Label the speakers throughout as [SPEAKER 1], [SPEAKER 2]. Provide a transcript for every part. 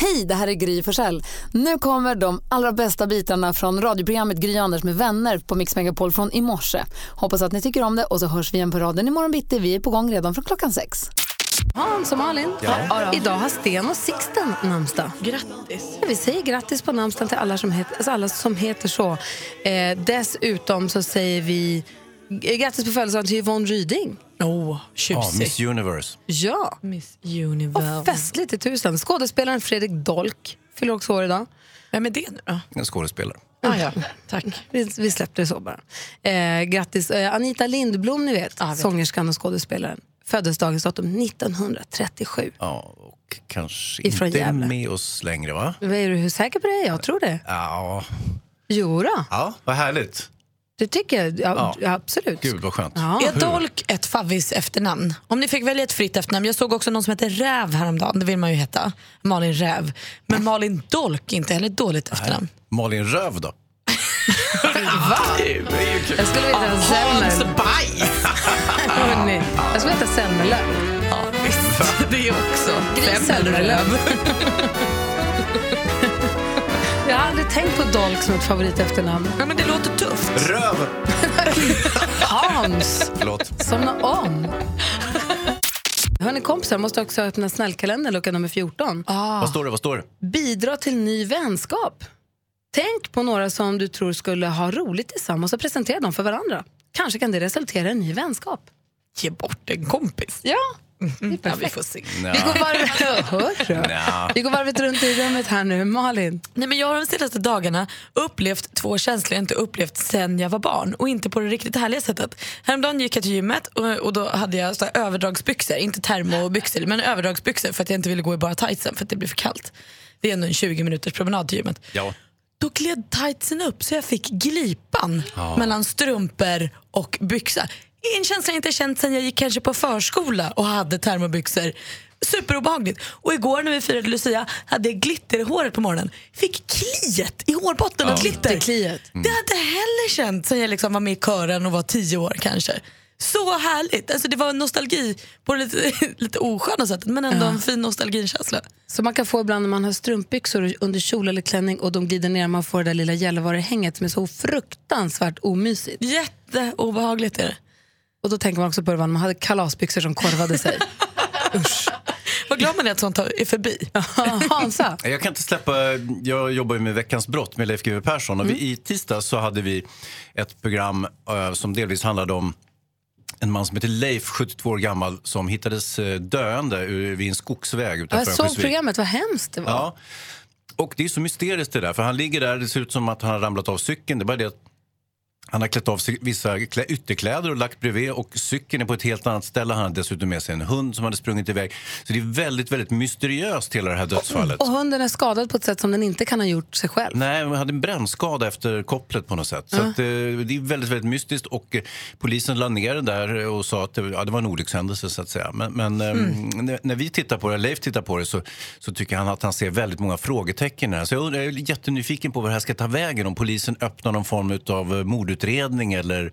[SPEAKER 1] Hej, det här är Gry Forssell. Nu kommer de allra bästa bitarna från radioprogrammet Gry Anders med vänner på Mix Megapol från i morse. Hoppas att ni tycker om det och så hörs vi igen på raden imorgon bitti. Vi är på gång redan från klockan sex.
[SPEAKER 2] Hans och Malin. Idag har Sten och Sixten namnsdag.
[SPEAKER 3] Grattis.
[SPEAKER 2] Ja, vi säger grattis på namnsdagen till alla som, het, alltså alla som heter så. Eh, dessutom så säger vi eh, grattis på födelsedagen till Yvonne Ryding.
[SPEAKER 3] Åh, oh,
[SPEAKER 4] Ja, Miss
[SPEAKER 3] tjusig.
[SPEAKER 4] Universe.
[SPEAKER 2] Ja,
[SPEAKER 3] Miss
[SPEAKER 2] och
[SPEAKER 3] Universe.
[SPEAKER 2] festligt i tusen. Skådespelaren Fredrik Dolk fyller också år idag.
[SPEAKER 3] Vem är det nu då?
[SPEAKER 4] En skådespelare.
[SPEAKER 3] Ah, ja. Tack.
[SPEAKER 2] Vi, vi släppte det så bara. Eh, grattis eh, Anita Lindblom, ni vet, sångerskan och skådespelaren. Födelsedagens datum 1937.
[SPEAKER 4] Ja, och kanske
[SPEAKER 2] Ifrån
[SPEAKER 4] inte
[SPEAKER 2] Gävle.
[SPEAKER 4] med oss längre, va?
[SPEAKER 2] Vad Är du säker på det? Jag tror det.
[SPEAKER 4] Ja,
[SPEAKER 2] Jo då,
[SPEAKER 4] ja vad härligt.
[SPEAKER 2] det tycker jag. Ja, Absolut.
[SPEAKER 4] Gud, vad skönt.
[SPEAKER 2] Ja.
[SPEAKER 3] Är Dolk ett favvis efternamn? Om ni fick välja ett fritt efternamn. Jag såg också någon som hette Räv häromdagen. Det vill man ju heta. Malin Räv. Men Malin Dolk är inte heller ett dåligt efternamn.
[SPEAKER 4] Malin Röv, då?
[SPEAKER 2] Jag skulle vilja heta Semler.
[SPEAKER 3] Baj!
[SPEAKER 2] Hörrni, Jag skulle heta Semmelöv.
[SPEAKER 3] Ja, visst. Det är också.
[SPEAKER 2] Semmelöv. Jag har aldrig tänkt på Dolk som ett favorit-efternamn.
[SPEAKER 3] Ja, men det låter tufft.
[SPEAKER 4] Röv!
[SPEAKER 2] Hans!
[SPEAKER 4] Förlåt.
[SPEAKER 2] Somna om. Hörni, kompisar måste också öppna snällkalendern, lucka nummer 14.
[SPEAKER 4] Vad står det? Vad står det?
[SPEAKER 2] Bidra till ny vänskap. Tänk på några som du tror skulle ha roligt tillsammans och presentera dem för varandra. Kanske kan det resultera i en ny vänskap.
[SPEAKER 3] Ge bort en kompis.
[SPEAKER 2] Ja,
[SPEAKER 3] Mm, ja, vi
[SPEAKER 2] perfekt.
[SPEAKER 3] får se.
[SPEAKER 4] Nja.
[SPEAKER 2] vi går varvet, Hörru.
[SPEAKER 4] Nja.
[SPEAKER 2] vi går varvet runt i rummet här nu. Malin.
[SPEAKER 3] Nej, men jag har de senaste dagarna upplevt två känslor jag inte upplevt sen jag var barn och inte på det riktigt härliga sättet. Häromdagen gick jag till gymmet och, och då hade jag så här överdragsbyxor, inte termobyxor, men överdragsbyxor för att jag inte ville gå i bara tightsen för att det blev för kallt. Det är ändå en 20 minuters promenad till gymmet.
[SPEAKER 4] Ja.
[SPEAKER 3] Då gled tightsen upp så jag fick glipan mellan strumpor och byxa. En känsla jag inte känt sen jag gick kanske på förskola och hade termobyxor. Superobehagligt. Och igår när vi firade Lucia hade jag glitter i håret på morgonen. Fick kliet i hårbotten av glitter.
[SPEAKER 2] Kliet.
[SPEAKER 3] Det hade jag heller känt sen jag liksom var med i kören och var tio år kanske. Så härligt. Alltså det var en nostalgi på det lite, lite osköna sättet men ändå en fin nostalgikänsla.
[SPEAKER 2] Som man kan få ibland när man har strumpbyxor under kjol eller klänning och de glider ner man får det där lilla Gällivare-hänget som är så fruktansvärt omysigt.
[SPEAKER 3] Jätteobehagligt är det.
[SPEAKER 2] Och då tänker man också på det när man hade kalasbyxor som korvade sig.
[SPEAKER 3] Vad glad man är att sånt har- är förbi.
[SPEAKER 2] Hansa,
[SPEAKER 4] Jag kan inte släppa, jag jobbar ju med Veckans brott med Leif GW Persson och
[SPEAKER 2] Mm.
[SPEAKER 4] vi, i tisdag så hade vi ett program eh, som delvis handlade om en man som heter Leif, 72 år gammal, som hittades eh, döende ur- vid en skogsväg utanför
[SPEAKER 2] jag såg
[SPEAKER 4] Örnsköldsvik.
[SPEAKER 2] programmet, vad hemskt det var.
[SPEAKER 4] Ja. Och det är så mysteriskt det där, för han ligger där, det ser ut som att han har ramlat av cykeln. Det är bara det att han har klätt av sig vissa klä, ytterkläder och lagt bredvid och cykeln är på ett helt annat ställe. Han har dessutom med sig en hund som hade sprungit iväg. Så det är väldigt, väldigt mysteriöst hela det här dödsfallet.
[SPEAKER 2] Och hunden är skadad på ett sätt som den inte kan ha gjort sig själv.
[SPEAKER 4] Nej, men hade en brännskada efter kopplet på något sätt. Så att, eh, det är väldigt, väldigt mystiskt och eh, polisen la ner den där och sa att det, ja, det var en olyckshändelse så att säga. Men, men eh,
[SPEAKER 2] Mm.
[SPEAKER 4] när, när vi tittar på det, Leif tittar på det, så, så tycker han att han ser väldigt många frågetecken här. Så jag, undrar, jag är jättenyfiken på vad det här ska ta vägen. Om polisen öppnar någon form av eh, mordutredning eller eh,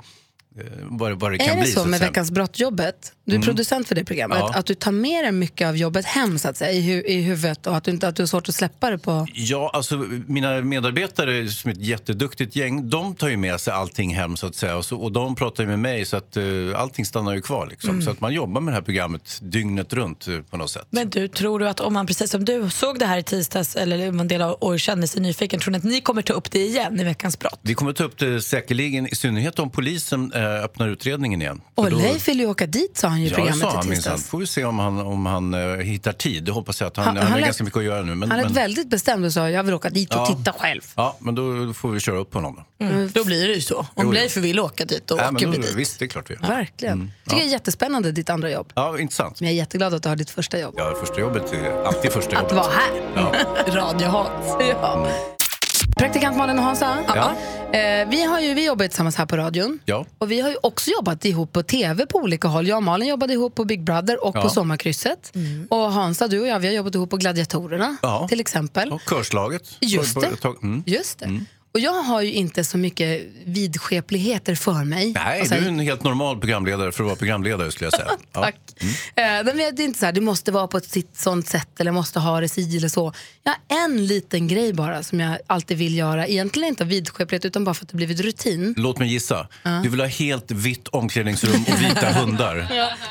[SPEAKER 4] vad, det- vad det kan
[SPEAKER 2] Är det
[SPEAKER 4] bli.
[SPEAKER 2] så
[SPEAKER 4] att
[SPEAKER 2] med
[SPEAKER 4] säga. Mm.
[SPEAKER 2] Veckans brott-jobbet, du är producent för det programmet,
[SPEAKER 4] Ja.
[SPEAKER 2] att du tar med dig mycket av jobbet hem så att säga, i, hu- i huvudet och att du, inte, att du har svårt att släppa det på...
[SPEAKER 4] Ja, alltså mina medarbetare som är ett jätteduktigt gäng, de tar ju med sig allting hem så att säga. Och, så, och de pratar ju med mig så att uh, allting stannar ju kvar liksom.
[SPEAKER 2] Mm.
[SPEAKER 4] Så att man jobbar med det här programmet dygnet runt eh, på något sätt.
[SPEAKER 3] Men du, tror du att om man precis som du såg det här i tisdags eller om en del av och kände sig nyfiken, tror ni att ni kommer ta upp det igen i Veckans brott?
[SPEAKER 4] Vi kommer ta upp det säkerligen, i synnerhet om polisen eh, öppnar utredningen igen. För
[SPEAKER 2] Och
[SPEAKER 4] då-
[SPEAKER 2] Leif ville ju åka dit sa han ju i
[SPEAKER 4] Ja, det
[SPEAKER 2] programmet
[SPEAKER 4] sa han
[SPEAKER 2] i
[SPEAKER 4] minsann.
[SPEAKER 2] tisdags.
[SPEAKER 4] Får vi se om han, om han eh, hittar tid. Det hoppas jag att han,
[SPEAKER 2] Han-
[SPEAKER 4] han,
[SPEAKER 2] han
[SPEAKER 4] har
[SPEAKER 2] lät-
[SPEAKER 4] ganska mycket att göra nu. Men,
[SPEAKER 2] Han lät
[SPEAKER 4] men,
[SPEAKER 2] väldigt bestämd och sa jag vill åka dit och titta själv.
[SPEAKER 4] ja, men då får vi köra upp honom. då.
[SPEAKER 3] Mm. Då blir det ju så. Om Leif vill åka dit, då
[SPEAKER 4] Ja,
[SPEAKER 3] åker
[SPEAKER 4] men
[SPEAKER 3] vi
[SPEAKER 4] då
[SPEAKER 3] dit.
[SPEAKER 4] visst, det är klart vi gör.
[SPEAKER 2] Verkligen.
[SPEAKER 4] Mm.
[SPEAKER 2] tycker jag är jättespännande, ditt andra jobb.
[SPEAKER 4] Ja, intressant.
[SPEAKER 2] Men jag är jätteglad att du har ditt första jobb.
[SPEAKER 4] Ja, första jobbet är alltid första jobbet.
[SPEAKER 2] Att vara här.
[SPEAKER 4] Ja.
[SPEAKER 3] Radiohat.
[SPEAKER 4] Mm.
[SPEAKER 2] Ja. Praktikant Malin och Hansa,
[SPEAKER 4] Ja.
[SPEAKER 2] eh, vi, har ju, vi jobbar ju tillsammans här på radion.
[SPEAKER 4] Ja.
[SPEAKER 2] Och vi har ju också jobbat ihop på tv på olika håll. Jag och Malin jobbade ihop på Big Brother och på
[SPEAKER 4] Ja.
[SPEAKER 2] Sommarkrysset.
[SPEAKER 3] Mm.
[SPEAKER 2] Och Hansa, du och jag, vi har jobbat ihop på Gladiatorerna
[SPEAKER 4] Ja.
[SPEAKER 2] till exempel.
[SPEAKER 4] Och körslaget.
[SPEAKER 2] Just
[SPEAKER 4] På- på-
[SPEAKER 2] det.
[SPEAKER 4] tag- Mm.
[SPEAKER 2] Just det. Och jag har ju inte så mycket vidskepligheter för mig.
[SPEAKER 4] Nej,
[SPEAKER 2] Alltså,
[SPEAKER 4] du är en helt normal programledare för att vara programledare skulle jag säga. Ja. Mm.
[SPEAKER 2] Tack. Eh, nej, men det är inte så här, du måste vara på ett sitt sånt sätt eller måste ha det si eller så. Jag har en liten grej bara som jag alltid vill göra. Egentligen inte av vidskeplighet utan bara för att det blivit rutin.
[SPEAKER 4] Låt mig gissa. Du vill ha helt vitt omklädningsrum och vita hundar.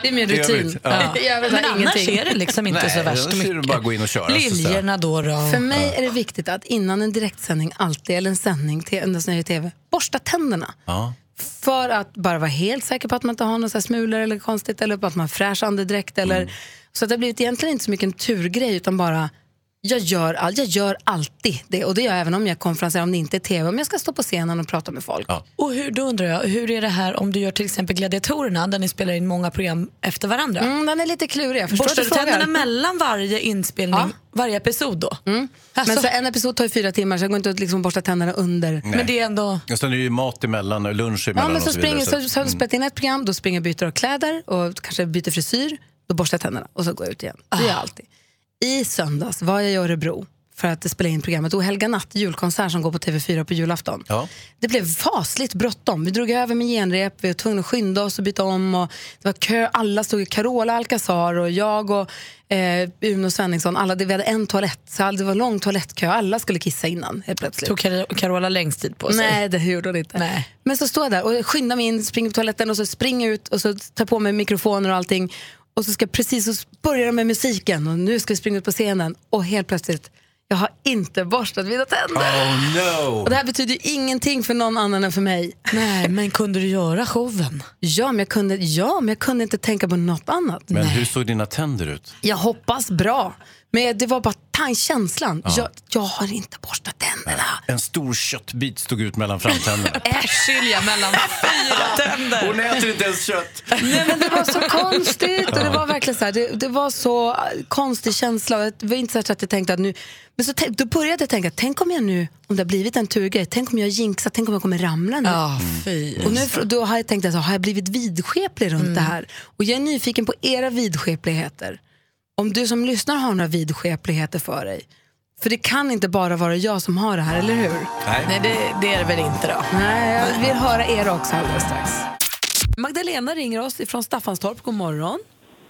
[SPEAKER 2] Det är min
[SPEAKER 4] I övrigt,
[SPEAKER 2] rutin.
[SPEAKER 4] ja.
[SPEAKER 2] I övrigt har
[SPEAKER 3] Men
[SPEAKER 2] jag
[SPEAKER 3] annars
[SPEAKER 2] ingenting.
[SPEAKER 3] är det liksom inte så värst
[SPEAKER 4] annars är det
[SPEAKER 3] mycket.
[SPEAKER 4] bara att gå in och köra. så att säga.
[SPEAKER 3] Liljorna då då?
[SPEAKER 2] För mig är det viktigt att innan en direktsändning alltid, eller en sändning, te- när jag är i TV, borsta tänderna.
[SPEAKER 4] Ja.
[SPEAKER 2] För att bara vara helt säker på att man inte har några så här smulor eller konstigt eller på att man har fräsch andedräkt. Eller,
[SPEAKER 3] Mm.
[SPEAKER 2] Så att det har blivit egentligen inte så mycket en turgrej utan bara jag gör, all, jag gör alltid det och det gör jag även om jag konferenserar, om det inte är tv, om jag ska stå på scenen och prata med folk.
[SPEAKER 4] Ja.
[SPEAKER 3] Och hur, då undrar jag, hur är det här om du gör till exempel Gladiatorerna där ni spelar in många program efter varandra?
[SPEAKER 2] Mm, den är lite klurig, jag förstår
[SPEAKER 3] Borstar
[SPEAKER 2] att
[SPEAKER 3] du
[SPEAKER 2] du frågar.
[SPEAKER 3] tänderna mellan varje inspelning,
[SPEAKER 2] Ja.
[SPEAKER 3] varje episod då? Alltså,
[SPEAKER 2] Men
[SPEAKER 3] men,
[SPEAKER 2] så en episod tar ju fyra timmar så jag går inte att liksom borsta tänderna under.
[SPEAKER 4] Nej.
[SPEAKER 3] det är ändå...
[SPEAKER 4] Och sen är det ju mat emellan, och lunch emellan
[SPEAKER 2] Ja,
[SPEAKER 4] och
[SPEAKER 2] men så springer,
[SPEAKER 4] vidare, Mm.
[SPEAKER 2] så, så har jag spelat in ett program, då springer jag och byter av kläder och kanske byter frisyr, då borstar jag tänderna och så går jag ut igen. Det gör jag alltid. I söndags var jag i Örebro för att spela in programmet Ohelga natt, julkonsert som går på TV4 på julafton.
[SPEAKER 4] Ja.
[SPEAKER 2] Det blev fasligt bråttom. Vi drog över med genrep, vi var tvungna att skynda oss och byta om. Och det var kö, alla stod i Carola Alcazar och jag och eh, Uno Svenningsson. Alla, det- vi hade en toalett, så all- det var lång toalettkö. Alla skulle kissa innan helt plötsligt.
[SPEAKER 3] Tog Car- Carola längst tid på sig?
[SPEAKER 2] Nej, det gjorde hon inte.
[SPEAKER 3] Nej.
[SPEAKER 2] Men så står jag där och skyndar mig in, springer på toaletten och så springer jag ut och så tar på mig mikrofoner och allting. Och så ska jag precis så börjar de med musiken och nu ska vi springa ut på scenen och helt plötsligt, jag har inte borstat mina tänder.
[SPEAKER 4] Oh
[SPEAKER 2] Och
[SPEAKER 4] no!
[SPEAKER 2] det här betyder ju ingenting för någon annan än för mig.
[SPEAKER 3] Nej, men kunde du göra showen?
[SPEAKER 2] Ja, men jag kunde, ja, men jag kunde inte tänka på något annat.
[SPEAKER 4] Men hur såg dina tänder ut?
[SPEAKER 2] Jag hoppas bra, men det var bara tan- känslan. Jag, jag har inte borstat tänderna.
[SPEAKER 4] En stor köttbit stod ut mellan framtänderna.
[SPEAKER 3] Skilja mellan fyra tänder.
[SPEAKER 4] Hon äter inte ens kött!
[SPEAKER 2] Nej, men det var så konstigt och det var verkligen så här, det, det var så eh, konstig känsla. Och Det var inte så här att jag tänkte att nu... Men så tänk, då började jag tänka, tänk om jag nu, om det har blivit en turgrej, tänk om jag jinxar, tänk om jag kommer ramla nu.
[SPEAKER 3] Ja, fy.
[SPEAKER 2] Och nu, fr- då har jag tänkt, alltså, har jag blivit vidskeplig runt det här? Och jag är nyfiken på era vidskepligheter. Om du som lyssnar har några vidskepligheter för dig. För det kan inte bara vara jag som har det här, eller hur?
[SPEAKER 3] Nej, det, det är det väl inte då.
[SPEAKER 2] Nej, jag vill höra er också alldeles strax. Magdalena ringer oss ifrån Staffanstorp. God morgon.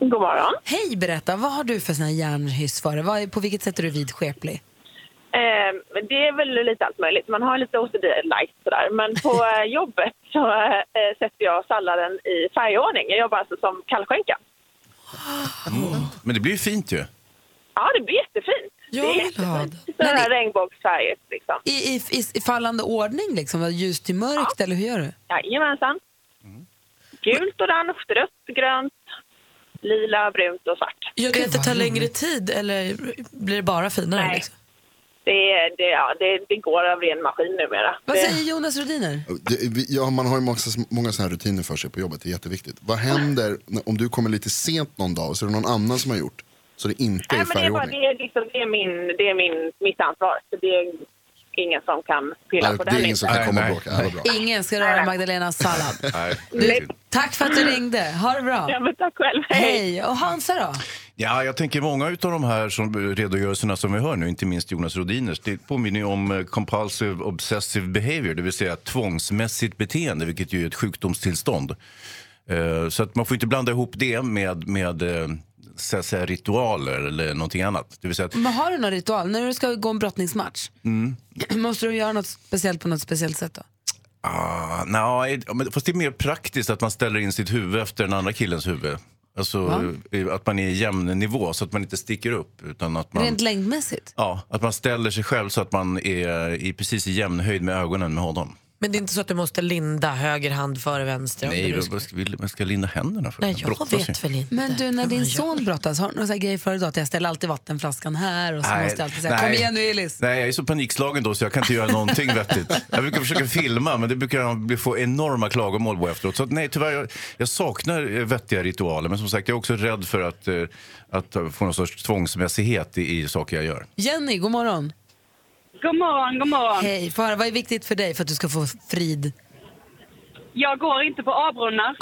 [SPEAKER 5] God morgon.
[SPEAKER 2] Hej, berätta. Vad har du för sån här järnhyss för dig? Vad är- På vilket sätt är du vidskeplig?
[SPEAKER 5] Eh, det är väl lite allt möjligt. Man har lite OCD-light sådär. Men på eh, jobbet så eh, sätter jag salladen i färgordning. Jag jobbar alltså som kallskänka.
[SPEAKER 4] Men det blir ju fint ju.
[SPEAKER 5] Ja, det blir jättefint.
[SPEAKER 3] Jag
[SPEAKER 5] det är
[SPEAKER 3] vill ha
[SPEAKER 5] jättefint.
[SPEAKER 3] det.
[SPEAKER 5] Sådana här regnbågsfärger liksom.
[SPEAKER 2] I, i, i, i fallande ordning, liksom? ljus till mörkt, eller hur gör du?
[SPEAKER 5] Jajamensan.
[SPEAKER 6] Mm.
[SPEAKER 5] Gult, orange, rött, grönt, lila, brunt och svart.
[SPEAKER 3] Jag kan inte ta längre tid eller blir det bara finare?
[SPEAKER 5] Nej.
[SPEAKER 3] Liksom?
[SPEAKER 5] Det, är- det, ja, det, det går av ren maskin numera.
[SPEAKER 2] Vad
[SPEAKER 5] det,
[SPEAKER 2] säger Jonas Rhodiner?
[SPEAKER 6] Det, vi- ja, man har ju massa, många sådana här rutiner för sig på jobbet, det är jätteviktigt. Vad händer när- om du kommer lite sent någon dag och så är det någon annan som har gjort så det inte
[SPEAKER 5] Nej,
[SPEAKER 6] är
[SPEAKER 5] men det, är bara,
[SPEAKER 6] färgordning?
[SPEAKER 5] det, är liksom, det är, min, det är min, mitt ansvar. Så det är ingen som kan pilla
[SPEAKER 6] Nej,
[SPEAKER 5] på
[SPEAKER 6] Det
[SPEAKER 5] den.
[SPEAKER 6] är ingen som
[SPEAKER 4] Nej,
[SPEAKER 6] kan komma och
[SPEAKER 4] nej.
[SPEAKER 6] bråka. Ja, vad bra.
[SPEAKER 2] Ingen ska röra Magdalenas sallad.
[SPEAKER 4] Nej.
[SPEAKER 2] Tack för att du ringde. Ha det
[SPEAKER 5] Ja,
[SPEAKER 2] bra.
[SPEAKER 5] men tack själv.
[SPEAKER 2] Hej. Och Hansa då?
[SPEAKER 4] Ja, jag tänker många av de här som, redogörelserna som vi hör nu, inte minst Jonas Rodiners, det påminner ju om eh, compulsive obsessive behavior, det vill säga tvångsmässigt beteende, vilket ju är ett sjukdomstillstånd. Eh, Så att man får inte blanda ihop det med, med eh, så att säga, ritualer eller någonting annat. Det vill säga att,
[SPEAKER 2] Men har du någon ritual? När du ska gå en brottningsmatch, måste du göra något speciellt på något speciellt sätt då?
[SPEAKER 4] ah, nej, men fast det är mer praktiskt att man ställer in sitt huvud efter den andra killens huvud. Alltså eh, att man är i jämn nivå så att man inte sticker upp. Utan att man...
[SPEAKER 2] Rent längdmässigt?
[SPEAKER 4] Ja, att man ställer sig själv så att man är i precis i jämn höjd med ögonen med honom.
[SPEAKER 3] Men det är inte så att du måste linda höger hand före vänster? om
[SPEAKER 4] Nej,
[SPEAKER 3] du
[SPEAKER 4] vad ska, vill, man ska linda händerna för?
[SPEAKER 3] Nej, jag
[SPEAKER 4] Brottas ju.
[SPEAKER 3] vet väl inte.
[SPEAKER 2] Men du, när din son brottas, har du några så här grejer för idag? Att jag ställer alltid vattenflaskan här och så
[SPEAKER 4] Nej,
[SPEAKER 2] måste jag alltid säga
[SPEAKER 4] nej.
[SPEAKER 2] kom igen nu Elis.
[SPEAKER 4] Nej, jag är så panikslagen då så jag kan inte göra någonting vettigt. Jag brukar försöka filma men det brukar jag bli- få enorma klagomål på efteråt. Så att, nej, tyvärr, jag, jag saknar eh, vettiga ritualer men som sagt jag är också rädd för att, eh, att eh, få någon sorts tvångsmässighet i, i saker jag gör.
[SPEAKER 2] Jenny, god morgon.
[SPEAKER 7] God morgon, god morgon.
[SPEAKER 2] Hej, Fara, vad är viktigt för dig för att du ska få frid?
[SPEAKER 7] Jag går inte på A-brunnar.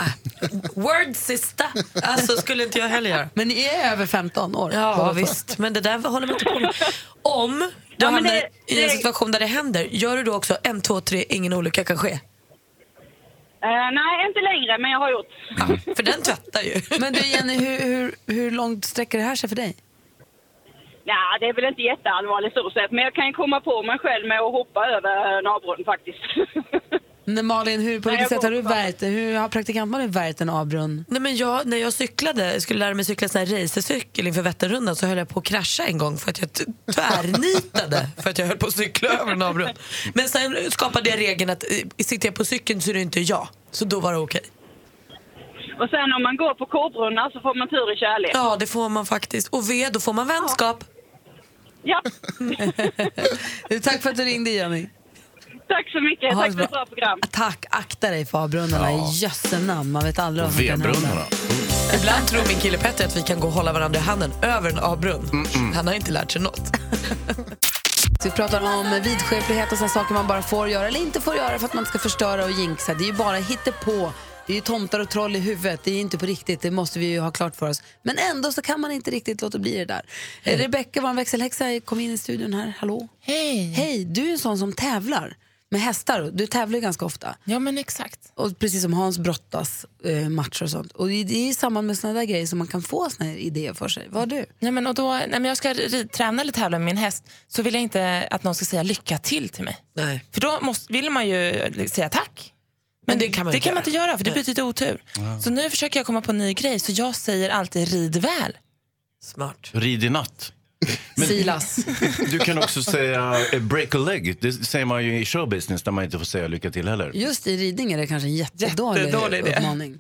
[SPEAKER 3] Word sista! Alltså skulle inte jag heller göra.
[SPEAKER 2] Men ni är över 15 år.
[SPEAKER 3] Ja
[SPEAKER 2] båda två.
[SPEAKER 3] visst, men det där håller man inte på med. Om Du
[SPEAKER 7] Ja, men
[SPEAKER 3] hamnar
[SPEAKER 7] det-
[SPEAKER 3] i en
[SPEAKER 7] det-
[SPEAKER 3] situation där det händer. Gör du då också en, två, tre, ingen olycka kan ske?
[SPEAKER 7] Eh, nej, inte längre, men jag har gjort.
[SPEAKER 4] Mm.
[SPEAKER 3] För den tvättar ju.
[SPEAKER 2] Men du Jenny, hur, hur, hur långt sträcker det här sig för dig?
[SPEAKER 7] Ja, det är väl inte jätteallvarligt så sett, men jag kan ju komma på mig själv med att hoppa över en avbrunn faktiskt.
[SPEAKER 2] Nej, Malin, hur, på
[SPEAKER 7] Nej,
[SPEAKER 2] vilket
[SPEAKER 7] jag
[SPEAKER 2] sätt har
[SPEAKER 7] går
[SPEAKER 2] du
[SPEAKER 7] på-
[SPEAKER 2] värjt Hur har praktikant-Malin värjt en avbrunn?
[SPEAKER 3] Nej, men jag, när jag cyklade, jag skulle lära mig cykla sån här racercykel inför Vätternrundan så höll jag på att krascha en gång för att jag t- tvärnitade för att jag höll på att cykla över en avgrund. Men sen skapade jag regeln att eh, sitter jag på cykeln så är det inte jag. Så då var det okej.
[SPEAKER 7] och sen om man går på korvbrunnar så får man tur i kärlek. Ja.
[SPEAKER 3] Ja, det får man faktiskt. Och V, då får man vänskap.
[SPEAKER 2] Du, Eh, Tack för att du ringde Jenny.
[SPEAKER 7] Tack så mycket,
[SPEAKER 2] Ha
[SPEAKER 7] tack
[SPEAKER 2] det
[SPEAKER 7] för ett
[SPEAKER 2] bra.
[SPEAKER 7] bra program.
[SPEAKER 2] Tack, akta dig för avbrunnarna.
[SPEAKER 4] Ja.
[SPEAKER 2] I Jösse namn, man vet aldrig vad som kan hända.
[SPEAKER 4] V-brunnarna.
[SPEAKER 3] Ibland tror min kille Petter att vi kan gå och hålla varandra i handen över en avgrund. Han har inte lärt sig något.
[SPEAKER 2] Så Vi pratar om vidskeplighet och såna saker man bara får göra eller inte får göra för att man inte ska förstöra och jinxa. Det är ju bara hittepå. Det är ju tomtar och troll i huvudet. Det är ju inte på riktigt, det måste vi ju ha klart för oss. Men ändå så kan man inte riktigt låta bli det där. Hey. Rebecka, vår växelhäxa, kom in i studion här. Hallå?
[SPEAKER 8] Hej!
[SPEAKER 2] Hej, du är en sån som tävlar med hästar. Du tävlar ju ganska ofta.
[SPEAKER 8] Ja men exakt.
[SPEAKER 2] Och precis som Hans brottas eh, matcher och sånt. Och det det är i samband med såna där grejer som man kan få såna här idéer för sig. Vad har du?
[SPEAKER 8] Ja, men, och då, nej, men jag ska ri- träna eller tävla med min häst så vill jag inte att någon ska säga lycka till till mig.
[SPEAKER 3] Nej.
[SPEAKER 8] För då måste, vill man ju säga tack. Men det kan man, det kan man inte göra för det betyder otur. Så nu försöker jag komma på en ny grej så jag säger alltid rid väl.
[SPEAKER 3] Smart.
[SPEAKER 4] Rid i natt.
[SPEAKER 2] Silas.
[SPEAKER 4] Du kan också säga eh, break a leg. Det säger man ju i showbusiness där man inte får säga lycka till heller.
[SPEAKER 2] Just i ridning är det kanske en jättedålig,
[SPEAKER 8] Jättedålig idé.
[SPEAKER 2] uppmaning.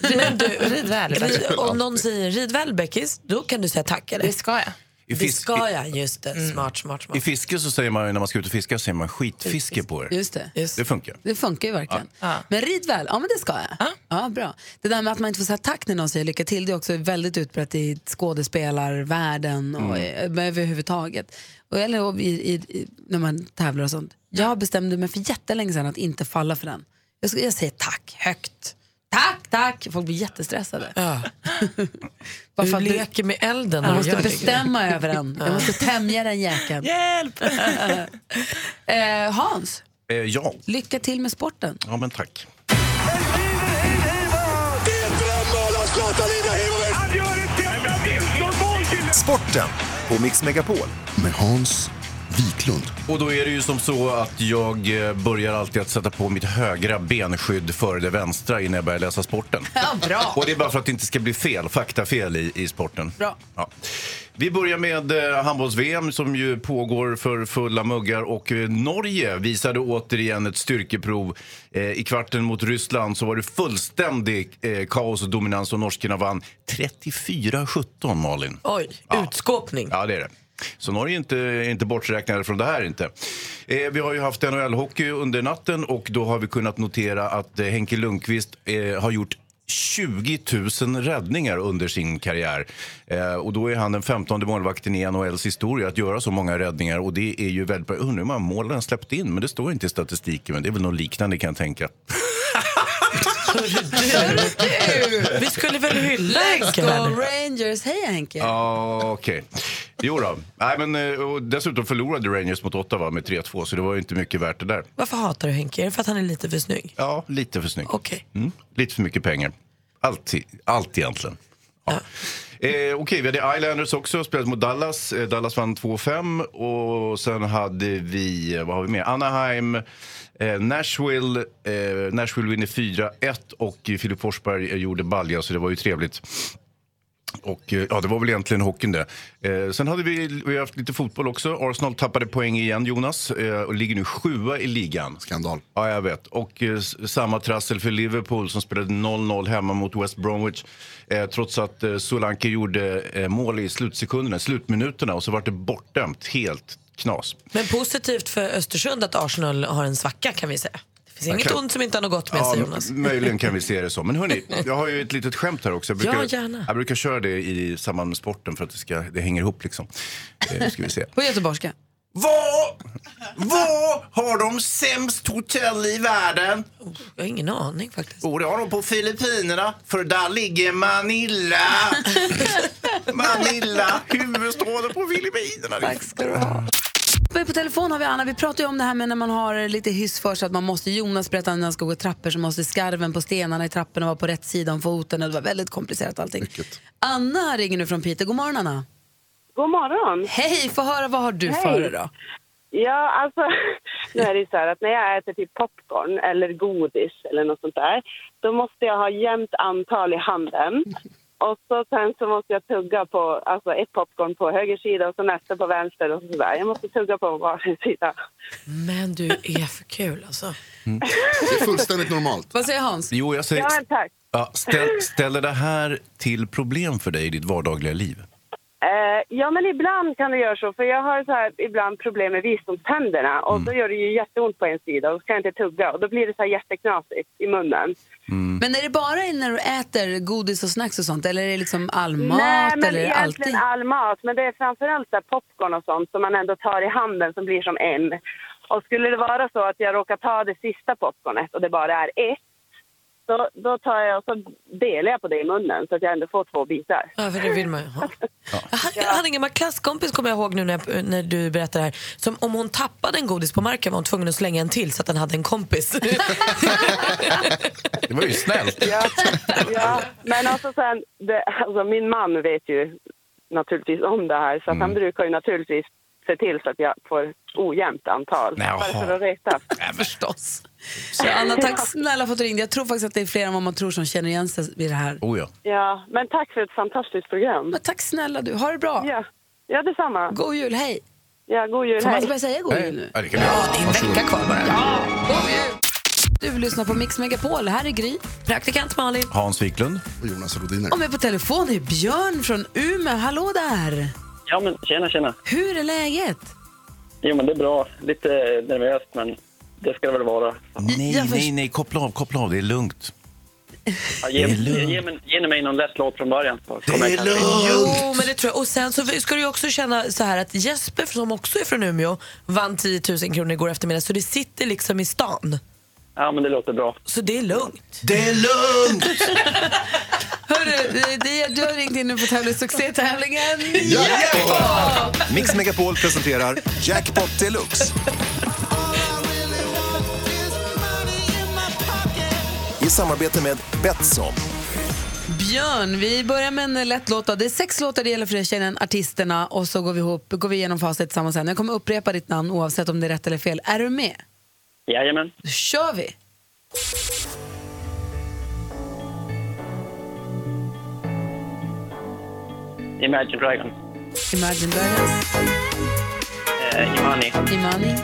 [SPEAKER 8] Rid, du, rid väl.
[SPEAKER 3] Rid, om någon säger rid väl Beckis, då kan du säga tack eller?
[SPEAKER 8] Det ska jag.
[SPEAKER 4] I,
[SPEAKER 3] Det
[SPEAKER 4] fisk,
[SPEAKER 3] ska jag, just det. Smart, smart,
[SPEAKER 4] i, I
[SPEAKER 3] smart.
[SPEAKER 4] fiske så säger man ju när man ska ut och fiska säger man skitfiske på det.
[SPEAKER 2] Just det.
[SPEAKER 4] Det funkar.
[SPEAKER 2] Det funkar ju verkligen.
[SPEAKER 8] Ja.
[SPEAKER 2] Men rid väl, ja men det ska jag. Ja. bra. Det där med att man inte får säga tack när någon säger lycka till, det är också väldigt utbrett i skådespelarvärlden och mm. överhuvudtaget. Och, eller och i, i, i, när man tävlar och sånt. Jag bestämde mig för jättelänge sedan att inte falla för den. Jag, ska, jag säger tack högt. Tack, tack! Folk blir jättestressade.
[SPEAKER 3] Ja.
[SPEAKER 2] Bara för
[SPEAKER 3] Du
[SPEAKER 2] att du-
[SPEAKER 3] leker med elden. när du
[SPEAKER 2] jag måste
[SPEAKER 3] gör det.
[SPEAKER 2] bestämma över den. Jag måste tämja den jäkeln.
[SPEAKER 8] Hjälp!
[SPEAKER 2] Eh, Hans,
[SPEAKER 4] Eh, ja.
[SPEAKER 2] lycka till med sporten.
[SPEAKER 4] ja, men tack.
[SPEAKER 9] Sporten på Mix Megapol.
[SPEAKER 6] Med Hans Wiklund.
[SPEAKER 4] Och då är det ju som så att jag eh, börjar alltid att sätta på mitt högra benskydd före det vänstra innan jag börjar läsa sporten.
[SPEAKER 2] Ja, bra.
[SPEAKER 4] Och det är bara för att det inte ska bli fel, faktafel i, i sporten.
[SPEAKER 2] Bra.
[SPEAKER 4] Ja. Vi börjar med eh, handbolls-VM som ju pågår för fulla muggar och eh, Norge visade återigen ett styrkeprov. Eh, I kvarten mot Ryssland så var det fullständig eh, kaos och dominans och norskarna vann 34-17, Malin.
[SPEAKER 3] Oj,
[SPEAKER 4] Ja.
[SPEAKER 3] utskåpning.
[SPEAKER 4] Ja, det är det. Så Norge är inte, är inte borträknade från det här inte. Eh, vi har ju haft NHL-hockey under natten och då har vi kunnat notera att eh, Henke Lundqvist eh, har gjort 20 000 räddningar under sin karriär. Eh, och då är han den 15 målvakten i NHLs historia att göra så många räddningar. Och det är ju väldigt bra. Jag Undrar hur många mål han släppt in, men det står inte i statistiken. Men det är väl något liknande kan jag tänka.
[SPEAKER 3] Vi skulle väl hylla Henke?
[SPEAKER 2] Go
[SPEAKER 3] här nu?
[SPEAKER 2] Rangers! Hej Henke!
[SPEAKER 4] Ja, okej. Jo då. Nej, men, eh, och dessutom förlorade Rangers mot Ottawa med 3-2, så det var ju inte mycket värt det där.
[SPEAKER 3] Varför hatar du Henke? Är det för att han är lite för snygg?
[SPEAKER 4] Ja, lite för snygg.
[SPEAKER 3] Okej.
[SPEAKER 4] Mm. Lite för mycket pengar. Allt, i- allt egentligen. Ja. Eh, Okej, vi hade Islanders också, spelat mot Dallas. Eh, Dallas vann 2-5. Och sen hade vi, eh, vad har vi mer? Anaheim, eh, Nashville. Eh, Nashville vinner 4-1 och Filip Forsberg eh, gjorde balja, så det var ju trevligt. Och eh, ja, det var väl egentligen hockeyn det. Eh, sen hade vi, vi har haft lite fotboll också. Arsenal tappade poäng igen, Jonas. Eh, och ligger nu sjua i ligan.
[SPEAKER 6] Skandal.
[SPEAKER 4] Ja, jag vet. Och eh, s- samma trassel för Liverpool som spelade 0-0 hemma mot West Bromwich. Eh, trots att eh, Solanke gjorde eh, mål i slutsekunderna, slutminuterna och så vart det bortdömt. Helt knas.
[SPEAKER 3] Men positivt för Östersund att Arsenal har en svacka kan vi säga. Det finns inget
[SPEAKER 4] kan-
[SPEAKER 3] ont som inte har något gott med sig
[SPEAKER 4] m-
[SPEAKER 3] Jonas.
[SPEAKER 4] möjligen kan vi se det så. Men hörni, jag har ju ett litet skämt här också. Jag brukar,
[SPEAKER 3] Ja, gärna.
[SPEAKER 4] Jag brukar köra det i samband med sporten för att det, ska, det hänger ihop liksom. Eh, nu ska vi se.
[SPEAKER 2] På göteborgska.
[SPEAKER 4] Vad, vad har de sämst hotell i världen?
[SPEAKER 3] Jag har ingen aning faktiskt.
[SPEAKER 4] Jo, Oh, det har de på Filippinerna, för där ligger Manila. Manila, huvudstaden på Filippinerna.
[SPEAKER 2] Tack ska du ha. på telefon har vi Anna. Vi pratade ju om det här med när man har lite hyss för sig att man måste, Jonas berättade när han ska gå i trappor så måste skarven på stenarna i trapporna vara på rätt sida om foten och det var väldigt komplicerat allting. Anna ringer nu från Piteå. God morgon Anna.
[SPEAKER 10] God morgon.
[SPEAKER 2] Hej, få höra vad har du
[SPEAKER 10] Hej.
[SPEAKER 2] för dig då?
[SPEAKER 10] Ja, alltså, nu är det ju så här att när jag äter typ popcorn eller godis eller något sånt där, då måste jag ha jämnt antal i handen. Och så sen så måste jag tugga på, alltså ett popcorn på höger sida och så nästa på vänster och sådär. Jag måste tugga på varsin sida.
[SPEAKER 3] Men du är för kul alltså.
[SPEAKER 6] Det är fullständigt normalt.
[SPEAKER 2] Vad säger Hans?
[SPEAKER 4] Jo, jag säger...
[SPEAKER 10] Ja, men tack.
[SPEAKER 4] Ja, ställ, ställer det här till problem för dig i ditt vardagliga liv?
[SPEAKER 10] Eh, ja, men ibland kan det göra så. För jag har så här, ibland problem med visdomständerna och då gör det ju jätteont på en sida och så kan jag inte tugga och då blir det så här jätteknasigt i munnen.
[SPEAKER 2] Men är det bara när du äter godis och snacks och sånt eller är det liksom all mat
[SPEAKER 10] Nej, men
[SPEAKER 2] eller är det alltid?
[SPEAKER 10] egentligen all mat. Men det är framförallt så här popcorn och sånt som man ändå tar i handen som blir som en. Och skulle det vara så att jag råkar ta det sista popcornet och det bara är ett, så, då tar jag och så delar jag på det i munnen så att jag ändå får två bitar.
[SPEAKER 3] Ja, för det vill man ju ha. Han, han är en gammal klasskompis kommer jag ihåg nu när, jag, när du berättar det här. Som om hon tappade en godis på marken var hon tvungen att slänga en till så att han hade en kompis.
[SPEAKER 4] Det var ju snällt.
[SPEAKER 10] Ja, ja. men alltså sen, det, alltså min man vet ju naturligtvis om det här så att han brukar ju naturligtvis se till så att jag får ojämnt antal.
[SPEAKER 4] Nej, jaha.
[SPEAKER 10] Bara för att retas.
[SPEAKER 3] Förstås.
[SPEAKER 2] Så Anna, tack snälla för att du ringde. Jag tror faktiskt att det är fler än vad man tror som känner igen sig vid det här.
[SPEAKER 4] Oh, ja.
[SPEAKER 10] Ja, men tack för ett fantastiskt program.
[SPEAKER 2] Men tack snälla du, ha det bra.
[SPEAKER 10] Ja, ja detsamma.
[SPEAKER 2] God jul, hej.
[SPEAKER 10] Ja, god jul.
[SPEAKER 2] Får man
[SPEAKER 10] hej.
[SPEAKER 2] inte börja säga god jul nu?
[SPEAKER 4] Ja, det kan vi göra.
[SPEAKER 3] Det är en vecka kvar bara.
[SPEAKER 2] Du lyssnar på Mix Megapol, här är Gry.
[SPEAKER 3] Praktikant Malin.
[SPEAKER 4] Hans Wiklund.
[SPEAKER 6] Och Jonas Rodiner.
[SPEAKER 2] Och med på telefon är Björn från Umeå. Hallå där!
[SPEAKER 11] Ja, men tjena, tjena.
[SPEAKER 2] Hur är läget?
[SPEAKER 11] Jo, men det är bra. Lite nervöst, men det ska det väl vara.
[SPEAKER 4] Nej, nej, nej. Koppla av, koppla av. Det är lugnt.
[SPEAKER 11] Ja, ge,
[SPEAKER 4] Det är lugnt.
[SPEAKER 11] ge, mig- ge mig någon lätt låt från början. så kommer jag
[SPEAKER 4] Det är
[SPEAKER 11] kanske-
[SPEAKER 4] lugnt!
[SPEAKER 3] Jo, men det tror jag. Och sen så ska du ju också känna så här att Jesper som också är från Umeå vann 10 000 kronor igår eftermiddag så det sitter liksom i stan.
[SPEAKER 11] Ja, men det låter bra.
[SPEAKER 3] Så det är lugnt.
[SPEAKER 4] Det är lugnt!
[SPEAKER 2] Hörru, det- det- du har ringt in nu på tävling, succétävlingen.
[SPEAKER 9] Mix Megapol presenterar Jackpot Deluxe. I samarbete med Betsson.
[SPEAKER 2] Björn, vi börjar med en lätt låt. då. Det är sex låtar det gäller för dig, tjejen, artisterna och så går vi, ihop, går vi igenom facit tillsammans sen. Jag kommer upprepa ditt namn oavsett om det är rätt eller fel. Är du med?
[SPEAKER 11] Jajamän.
[SPEAKER 2] Då kör vi!
[SPEAKER 11] Imagine Dragon.
[SPEAKER 2] Imagine Dragons,
[SPEAKER 11] Eh, Imani.
[SPEAKER 2] Imani,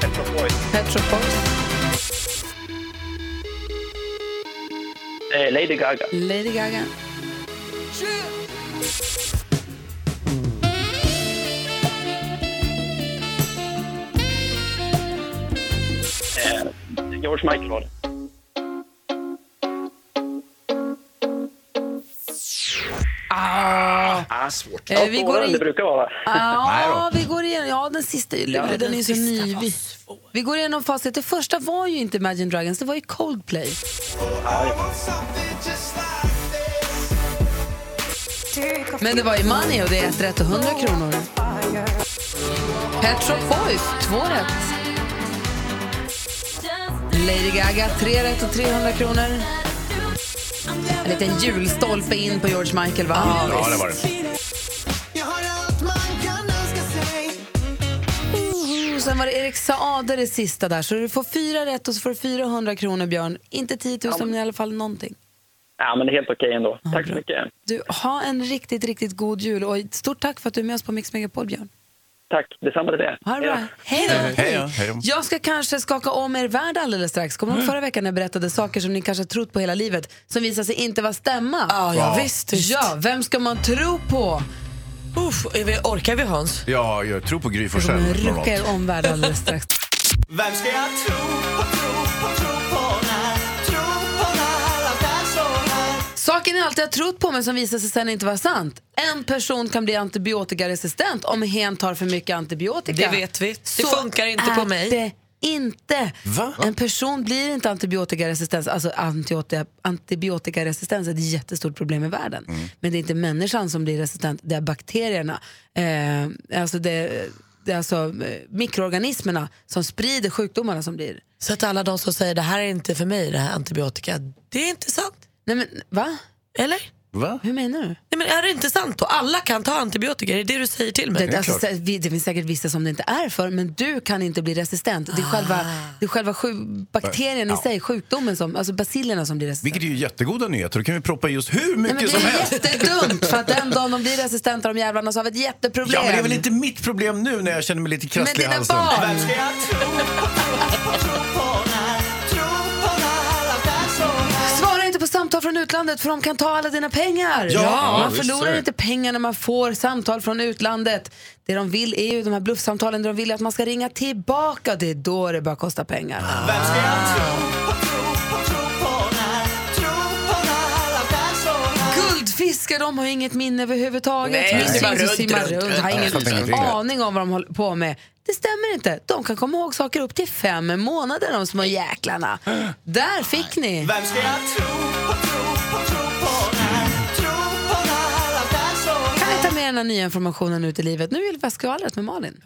[SPEAKER 11] Pet Shop Boys.
[SPEAKER 2] Pet Shop Boys,
[SPEAKER 11] Eh, Lady Gaga.
[SPEAKER 2] Lady Gaga,
[SPEAKER 11] Eh, George Michael var det. Ah, svårt.
[SPEAKER 2] Eh,
[SPEAKER 11] Ja,
[SPEAKER 2] vi
[SPEAKER 11] vi
[SPEAKER 2] går
[SPEAKER 11] går
[SPEAKER 2] in-
[SPEAKER 11] det brukar vara.
[SPEAKER 2] Ja, vi går igenom. Ja, den sista är ju lurig. den är ju så ny. Vi, vi går igenom facit. Det första var ju inte Imagine Dragons, det var ju Coldplay. Men det var Imani och det är ett rätt och 100 kronor. Pet Shop Boys, två rätt. Lady Gaga, tre rätt och 300 kronor. En liten julstolpe in på George Michael, va?
[SPEAKER 4] Ja, det var det.
[SPEAKER 2] Och Mm, sen var det Erik Saade det sista där. Så du får fyra rätt och så får du 400 kronor, Björn. Inte 10 000, men i alla fall någonting.
[SPEAKER 11] Ja, men det är helt okej ändå. Tack så mycket.
[SPEAKER 2] Du, ha en riktigt, riktigt god jul och ett stort tack för att du är med oss på Mix Megapol, Björn.
[SPEAKER 11] Tack. Detsamma till det.
[SPEAKER 2] Ha det
[SPEAKER 11] Hej då.
[SPEAKER 2] bra. Hej då. Mm.
[SPEAKER 4] Hej då, hej då.
[SPEAKER 2] Jag ska kanske skaka om er värld alldeles strax. Kommer du ihåg förra veckan när jag berättade saker som ni kanske har trott på hela livet som visar sig inte vara stämma?
[SPEAKER 3] Ja, ja visst.
[SPEAKER 2] Ja, vem ska man tro på?
[SPEAKER 3] Uff, är vi, orkar vi Hans?
[SPEAKER 4] Ja, jag tror på Gry
[SPEAKER 2] Jag kommer
[SPEAKER 4] Forssell.
[SPEAKER 2] rucka er om världen alldeles strax.
[SPEAKER 12] Vem ska jag tro på, tro på, tro på när? Tro på när allt är så här
[SPEAKER 2] Saken jag alltid har trott på men som visar sig sen inte vara sant. En person kan bli antibiotikaresistent om hen tar för mycket antibiotika.
[SPEAKER 3] Det vet vi. Det
[SPEAKER 2] Så
[SPEAKER 3] funkar inte
[SPEAKER 2] är
[SPEAKER 3] på mig.
[SPEAKER 2] det inte. En person blir inte antibiotikaresistent. Alltså antibiotika, antibiotikaresistens är ett jättestort problem i världen. Men det är inte människan som blir resistent, det är bakterierna. Eh, alltså det, det är alltså eh, mikroorganismerna som sprider sjukdomarna som blir.
[SPEAKER 3] Så att alla de som säger det här är inte för mig, det här antibiotika, det är inte sant.
[SPEAKER 2] Nej men va?
[SPEAKER 3] Eller?
[SPEAKER 13] Va?
[SPEAKER 2] Hur menar du?
[SPEAKER 3] Nej men är det inte sant då? Alla kan ta antibiotika, är det det du säger till mig?
[SPEAKER 2] Det, alltså, sä- vi- det finns säkert vissa som det inte är för, men du kan inte bli resistent. Det är själva, det är själva sju, bakterien i
[SPEAKER 13] Ja.
[SPEAKER 2] sig, sjukdomen, som, alltså bacillerna som blir resistent.
[SPEAKER 13] Vilket är ju jättegoda nyheter. Då kan vi proppa i just hur
[SPEAKER 2] Nej, men
[SPEAKER 13] mycket
[SPEAKER 2] det
[SPEAKER 13] som
[SPEAKER 2] är
[SPEAKER 13] helst.
[SPEAKER 2] jättedumt, för att den dagen de blir resistenta, de jävlarna, så har vi ett jätteproblem.
[SPEAKER 13] Ja, men det är väl inte mitt problem nu när jag känner mig lite krasslig i
[SPEAKER 2] Men dina
[SPEAKER 13] halsen.
[SPEAKER 2] barn!
[SPEAKER 13] Vem ska jag-
[SPEAKER 2] Svara inte på samtal från utlandet för de kan ta alla dina pengar.
[SPEAKER 14] Ja,
[SPEAKER 2] man
[SPEAKER 14] visst är
[SPEAKER 2] förlorar
[SPEAKER 14] det.
[SPEAKER 2] inte pengar när man får samtal från utlandet. Det de vill är ju de här bluffsamtalen där de vill att man ska ringa tillbaka. Det är då det börjar kosta pengar.
[SPEAKER 13] Ah,
[SPEAKER 2] Guldfiskar de har inget minne överhuvudtaget.
[SPEAKER 14] Nej,
[SPEAKER 2] Minns
[SPEAKER 14] det är bara
[SPEAKER 2] inte hur
[SPEAKER 14] runt,
[SPEAKER 2] simmar
[SPEAKER 14] runt, runt.
[SPEAKER 2] Har
[SPEAKER 14] Ja, jag fattar
[SPEAKER 2] ingen
[SPEAKER 14] ingenting.
[SPEAKER 2] aning om vad de håller på med. Det stämmer inte. De kan komma ihåg saker upp till fem månader, de små jäklarna. Där fick ni!
[SPEAKER 14] Vem ska jag tro på, tro på, tro på när? Tro på när allt är så
[SPEAKER 2] Kan ni ta med den här nya informationen ut i livet? Nu vill vi ha skvallret med Malin.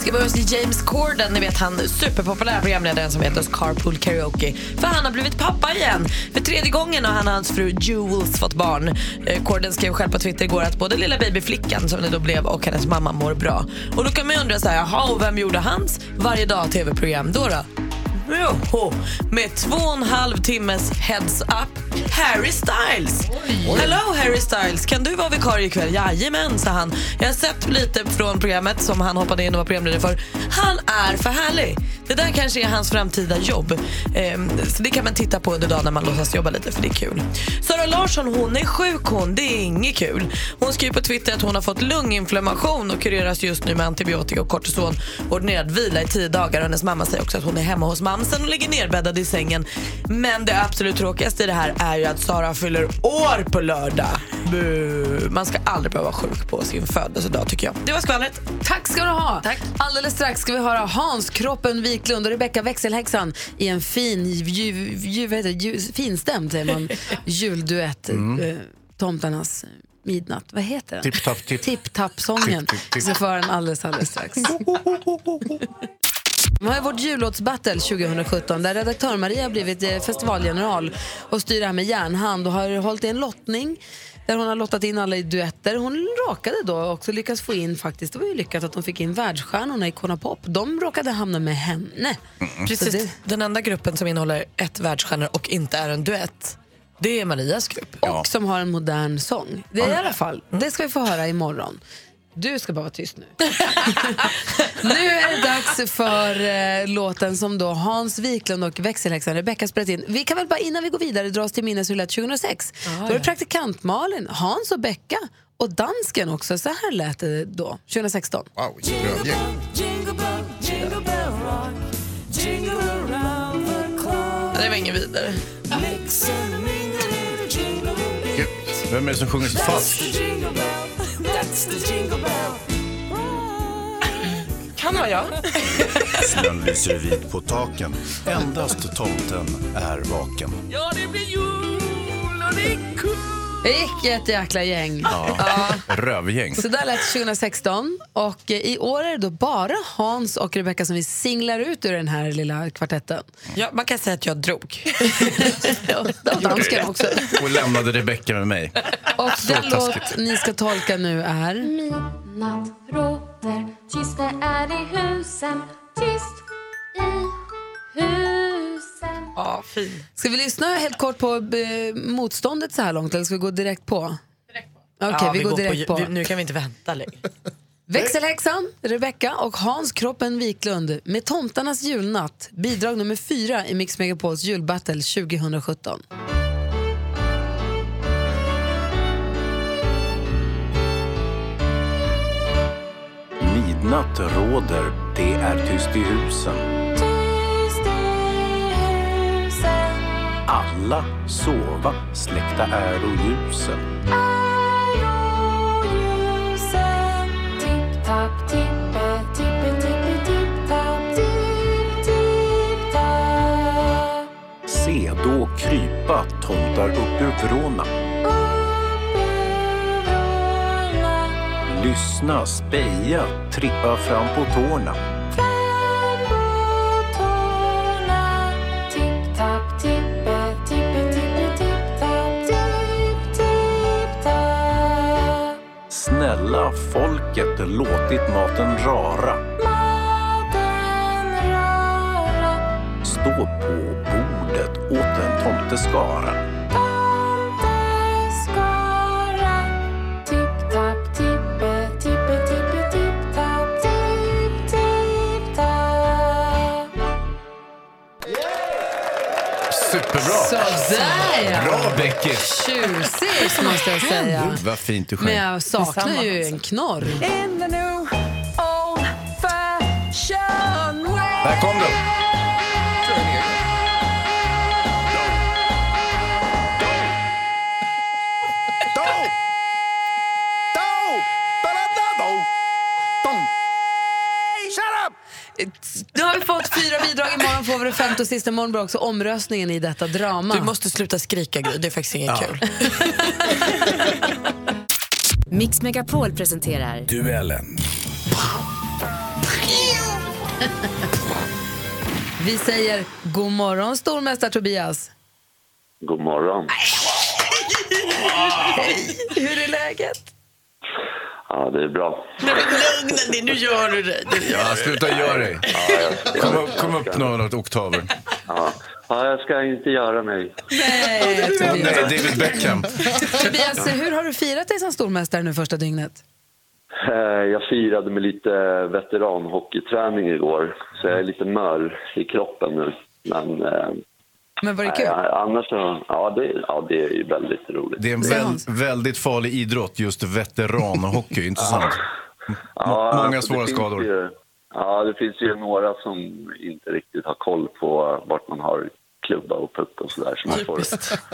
[SPEAKER 3] Ska börja hos James Corden, ni vet han superpopulära programledaren som heter oss Carpool Karaoke. För han har blivit pappa igen. För tredje gången har han och hans fru Jules fått barn. Eh, Corden skrev själv på Twitter igår att både lilla babyflickan som det då blev och hennes mamma mår bra. Och då kan man ju undra så här, jaha och vem gjorde hans varje dag tv-program då? då? Joho, med två och en halv timmes heads up. Harry Styles! Hello Harry Styles, kan du vara vikarie ikväll? Jajamän, sa han. Jag har sett lite från programmet som han hoppade in och var programledare för. Han är för härlig. Det där kanske är hans framtida jobb. Ehm, så det kan man titta på under dagen när man låtsas jobba lite, för det är kul. Sara Larsson, hon är sjuk hon. Det är inget kul. Hon skriver på Twitter att hon har fått lunginflammation och kureras just nu med antibiotika och kortison. Ordinerad vila i tio dagar. Hennes mamma säger också att hon är hemma hos mamsen och ligger nedbäddad i sängen. Men det absolut tråkigaste i det här är ju att Sara fyller år på lördag. Bu. Man ska aldrig behöva vara sjuk på sin födelsedag tycker jag. Det var skvallret.
[SPEAKER 2] Tack ska du ha! Alldeles strax ska vi höra Hans Kroppen Wiklund och Rebecca växelhäxan i en fin, ju, ju, vad heter, det? ju, finstämd säger man, julduett.
[SPEAKER 13] Mm.
[SPEAKER 2] Eh, Tomtarnas midnatt. Vad heter den?
[SPEAKER 13] Tipp, tapp, tipp.
[SPEAKER 2] Tipp-tapp-sången.
[SPEAKER 13] Tipp, tipp, tipp.
[SPEAKER 2] Vi ska få höra den alldeles, alldeles strax. Vi har ju vårt jullåtsbattle 2017 där redaktör Maria har blivit eh, festivalgeneral och styr det här med järnhand och har hållit i en lottning där hon har lottat in alla i duetter. Hon råkade då också lyckas få in faktiskt, det var ju lyckat att de fick in världsstjärnorna i Kona Pop. De råkade hamna med henne.
[SPEAKER 3] Precis,
[SPEAKER 2] Så det-
[SPEAKER 3] den enda gruppen som innehåller ett världsstjärnor och inte är en duett, det är Marias grupp.
[SPEAKER 2] Och som har en modern sång. Det är i alla fall, det ska vi få höra imorgon. Du ska bara vara tyst nu. nu är det dags för eh, låten som då Hans Wiklund och växelhäxan Rebecca spelat in. Vi kan väl bara innan vi går vidare dra oss till minnes hur det lät 2006. då var det
[SPEAKER 3] ja.
[SPEAKER 2] praktikant Malin, Hans och Becka och dansken också. Så här lät det då, 2016.
[SPEAKER 6] Wow, vilket rövgäng.
[SPEAKER 3] Det var ingen vidare.
[SPEAKER 13] Gud, Vem är det som sjunger så falskt?
[SPEAKER 3] Kan vara jag.
[SPEAKER 4] Snön lyser vit på taken. Endast tomten är vaken.
[SPEAKER 14] Ja, det blir jul och det är kul
[SPEAKER 2] Vilket jäkla gäng. Ja.
[SPEAKER 13] Ja. Rövgäng.
[SPEAKER 2] Så där lät 2016. Och eh, i år är det då bara Hans och Rebecca som vi singlar ut ur den här lilla kvartetten.
[SPEAKER 3] Ja, man kan säga att jag drog.
[SPEAKER 2] Och dansken också.
[SPEAKER 13] Och lämnade Rebecca med mig.
[SPEAKER 2] Och
[SPEAKER 13] Så
[SPEAKER 2] den låt
[SPEAKER 13] taskigt.
[SPEAKER 2] ni ska tolka nu är...
[SPEAKER 12] Midnatt råder, tyst det är i husen, tyst i husen.
[SPEAKER 3] Ja, fin.
[SPEAKER 2] Ska vi lyssna helt kort på eh, motståndet så här långt eller ska vi gå direkt på? Okej,
[SPEAKER 3] Ja,
[SPEAKER 2] vi, går direkt på.
[SPEAKER 3] vi- nu kan vi inte vänta längre.
[SPEAKER 2] Växelhäxan, Rebecca och Hans Kroppen Wiklund med Tomtarnas julnatt. Bidrag nummer fyra i Mix Megapols julbattle 2017.
[SPEAKER 4] Midnatt råder, det är tyst i husen.
[SPEAKER 14] Tyst i husen
[SPEAKER 4] Alla sova, släckta är och ljusen.
[SPEAKER 12] Ljusen, tipp-tapp, tippe, tippe, tippe, tipp-tapp
[SPEAKER 9] ABBA tomtar upp ur Verona. Lyssna, speja, trippa fram på tårna.
[SPEAKER 12] Tipp-tapp, tippe, tippe, tippe, tipp-tapp, tipp, tipp-tapp.
[SPEAKER 9] Snälla folket låtit maten rara. Stå på bordet åt en tomteskara.
[SPEAKER 12] Skara. Tipp-tapp, tippe, tippe, tippe, tipp-tapp, tipp, tipp-tapp.
[SPEAKER 4] Superbra!
[SPEAKER 2] Sådär, ja.
[SPEAKER 4] Bra, Becky!
[SPEAKER 2] Tjusigt måste jag säga.
[SPEAKER 4] Oh, Vad fint du sjöng.
[SPEAKER 2] Men jag saknar ju en knorr.
[SPEAKER 12] In the new old fashioned way.
[SPEAKER 4] Där kom den!
[SPEAKER 2] Nu har vi fått fyra bidrag, imorgon får vi det femte och sista. Imorgon blir också omröstningen i detta drama.
[SPEAKER 8] Du måste sluta skrika, Gry. Det är faktiskt inget kul.
[SPEAKER 15] Mix Megapol presenterar
[SPEAKER 9] Duellen.
[SPEAKER 2] Vi säger god morgon stormästare Tobias.
[SPEAKER 16] God morgon.
[SPEAKER 2] Hej, hur är läget?
[SPEAKER 16] Ja, det är bra.
[SPEAKER 8] Nej, men lugna dig, nu gör du det. Nu gör
[SPEAKER 4] Ja,
[SPEAKER 8] du
[SPEAKER 4] sluta
[SPEAKER 8] det.
[SPEAKER 4] göra dig. Kom, upp- kom upp några oktaver.
[SPEAKER 16] Ja. ja, jag ska inte göra mig.
[SPEAKER 2] Nej,
[SPEAKER 4] Nej, David Beckham.
[SPEAKER 2] Eh, Tobias, hur har du firat dig som stormästare nu första dygnet?
[SPEAKER 16] Eh, Jag firade med lite veteranhockeyträning igår, så jag är lite mör i kroppen nu. Men, eh,
[SPEAKER 2] Men var det kul?
[SPEAKER 16] nej, annars så, ja det, ja, det är ju väldigt roligt.
[SPEAKER 4] Det är en väl, väldigt farlig idrott, just veteranhockey. Inte sant?
[SPEAKER 16] Ja,
[SPEAKER 4] många
[SPEAKER 16] alltså,
[SPEAKER 4] svåra
[SPEAKER 16] det finns
[SPEAKER 4] skador.
[SPEAKER 16] Ju, ja, det finns ju några som inte riktigt har koll på vart man har klubba och puck och sådär. Så man får,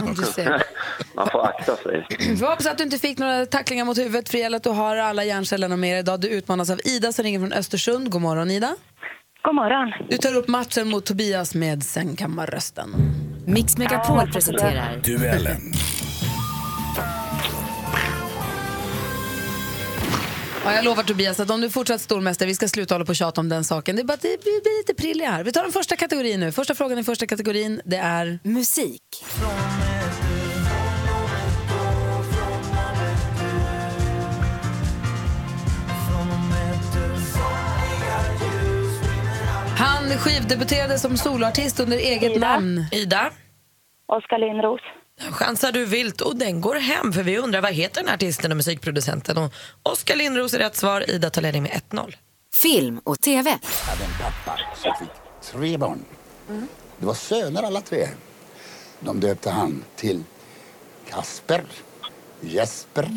[SPEAKER 16] man,
[SPEAKER 2] Du ser.
[SPEAKER 16] man får akta sig.
[SPEAKER 2] Vi hoppas att du inte fick några tacklingar mot huvudet för det gäller att du har alla hjärncellerna med dig idag. Du utmanas av Ida som ringer från Östersund. God morgon Ida.
[SPEAKER 17] God morgon.
[SPEAKER 2] Du tar upp matchen mot Tobias med sängkammarrösten.
[SPEAKER 15] Mix Megapol presenterar
[SPEAKER 9] Duellen.
[SPEAKER 2] Ja, jag lovar Tobias att om du är fortsatt stormästare, vi ska sluta hålla på och tjata om den saken. Det är bara att det blir, blir lite prilliga här. Vi tar den första kategorin nu. Första frågan i första kategorin, det är... Musik. Han skivdebuterade som soloartist under eget namn.
[SPEAKER 8] Ida?
[SPEAKER 17] Oskar Lindros.
[SPEAKER 8] chansar du vilt och den går hem för vi undrar vad heter den här artisten och musikproducenten. Och Oskar Lindros är rätt svar. Ida tar ledning med 1-0.
[SPEAKER 15] film och tv.
[SPEAKER 18] hade en pappa som fick tre barn. Det var söner alla tre. De döpte han till Kasper, Jesper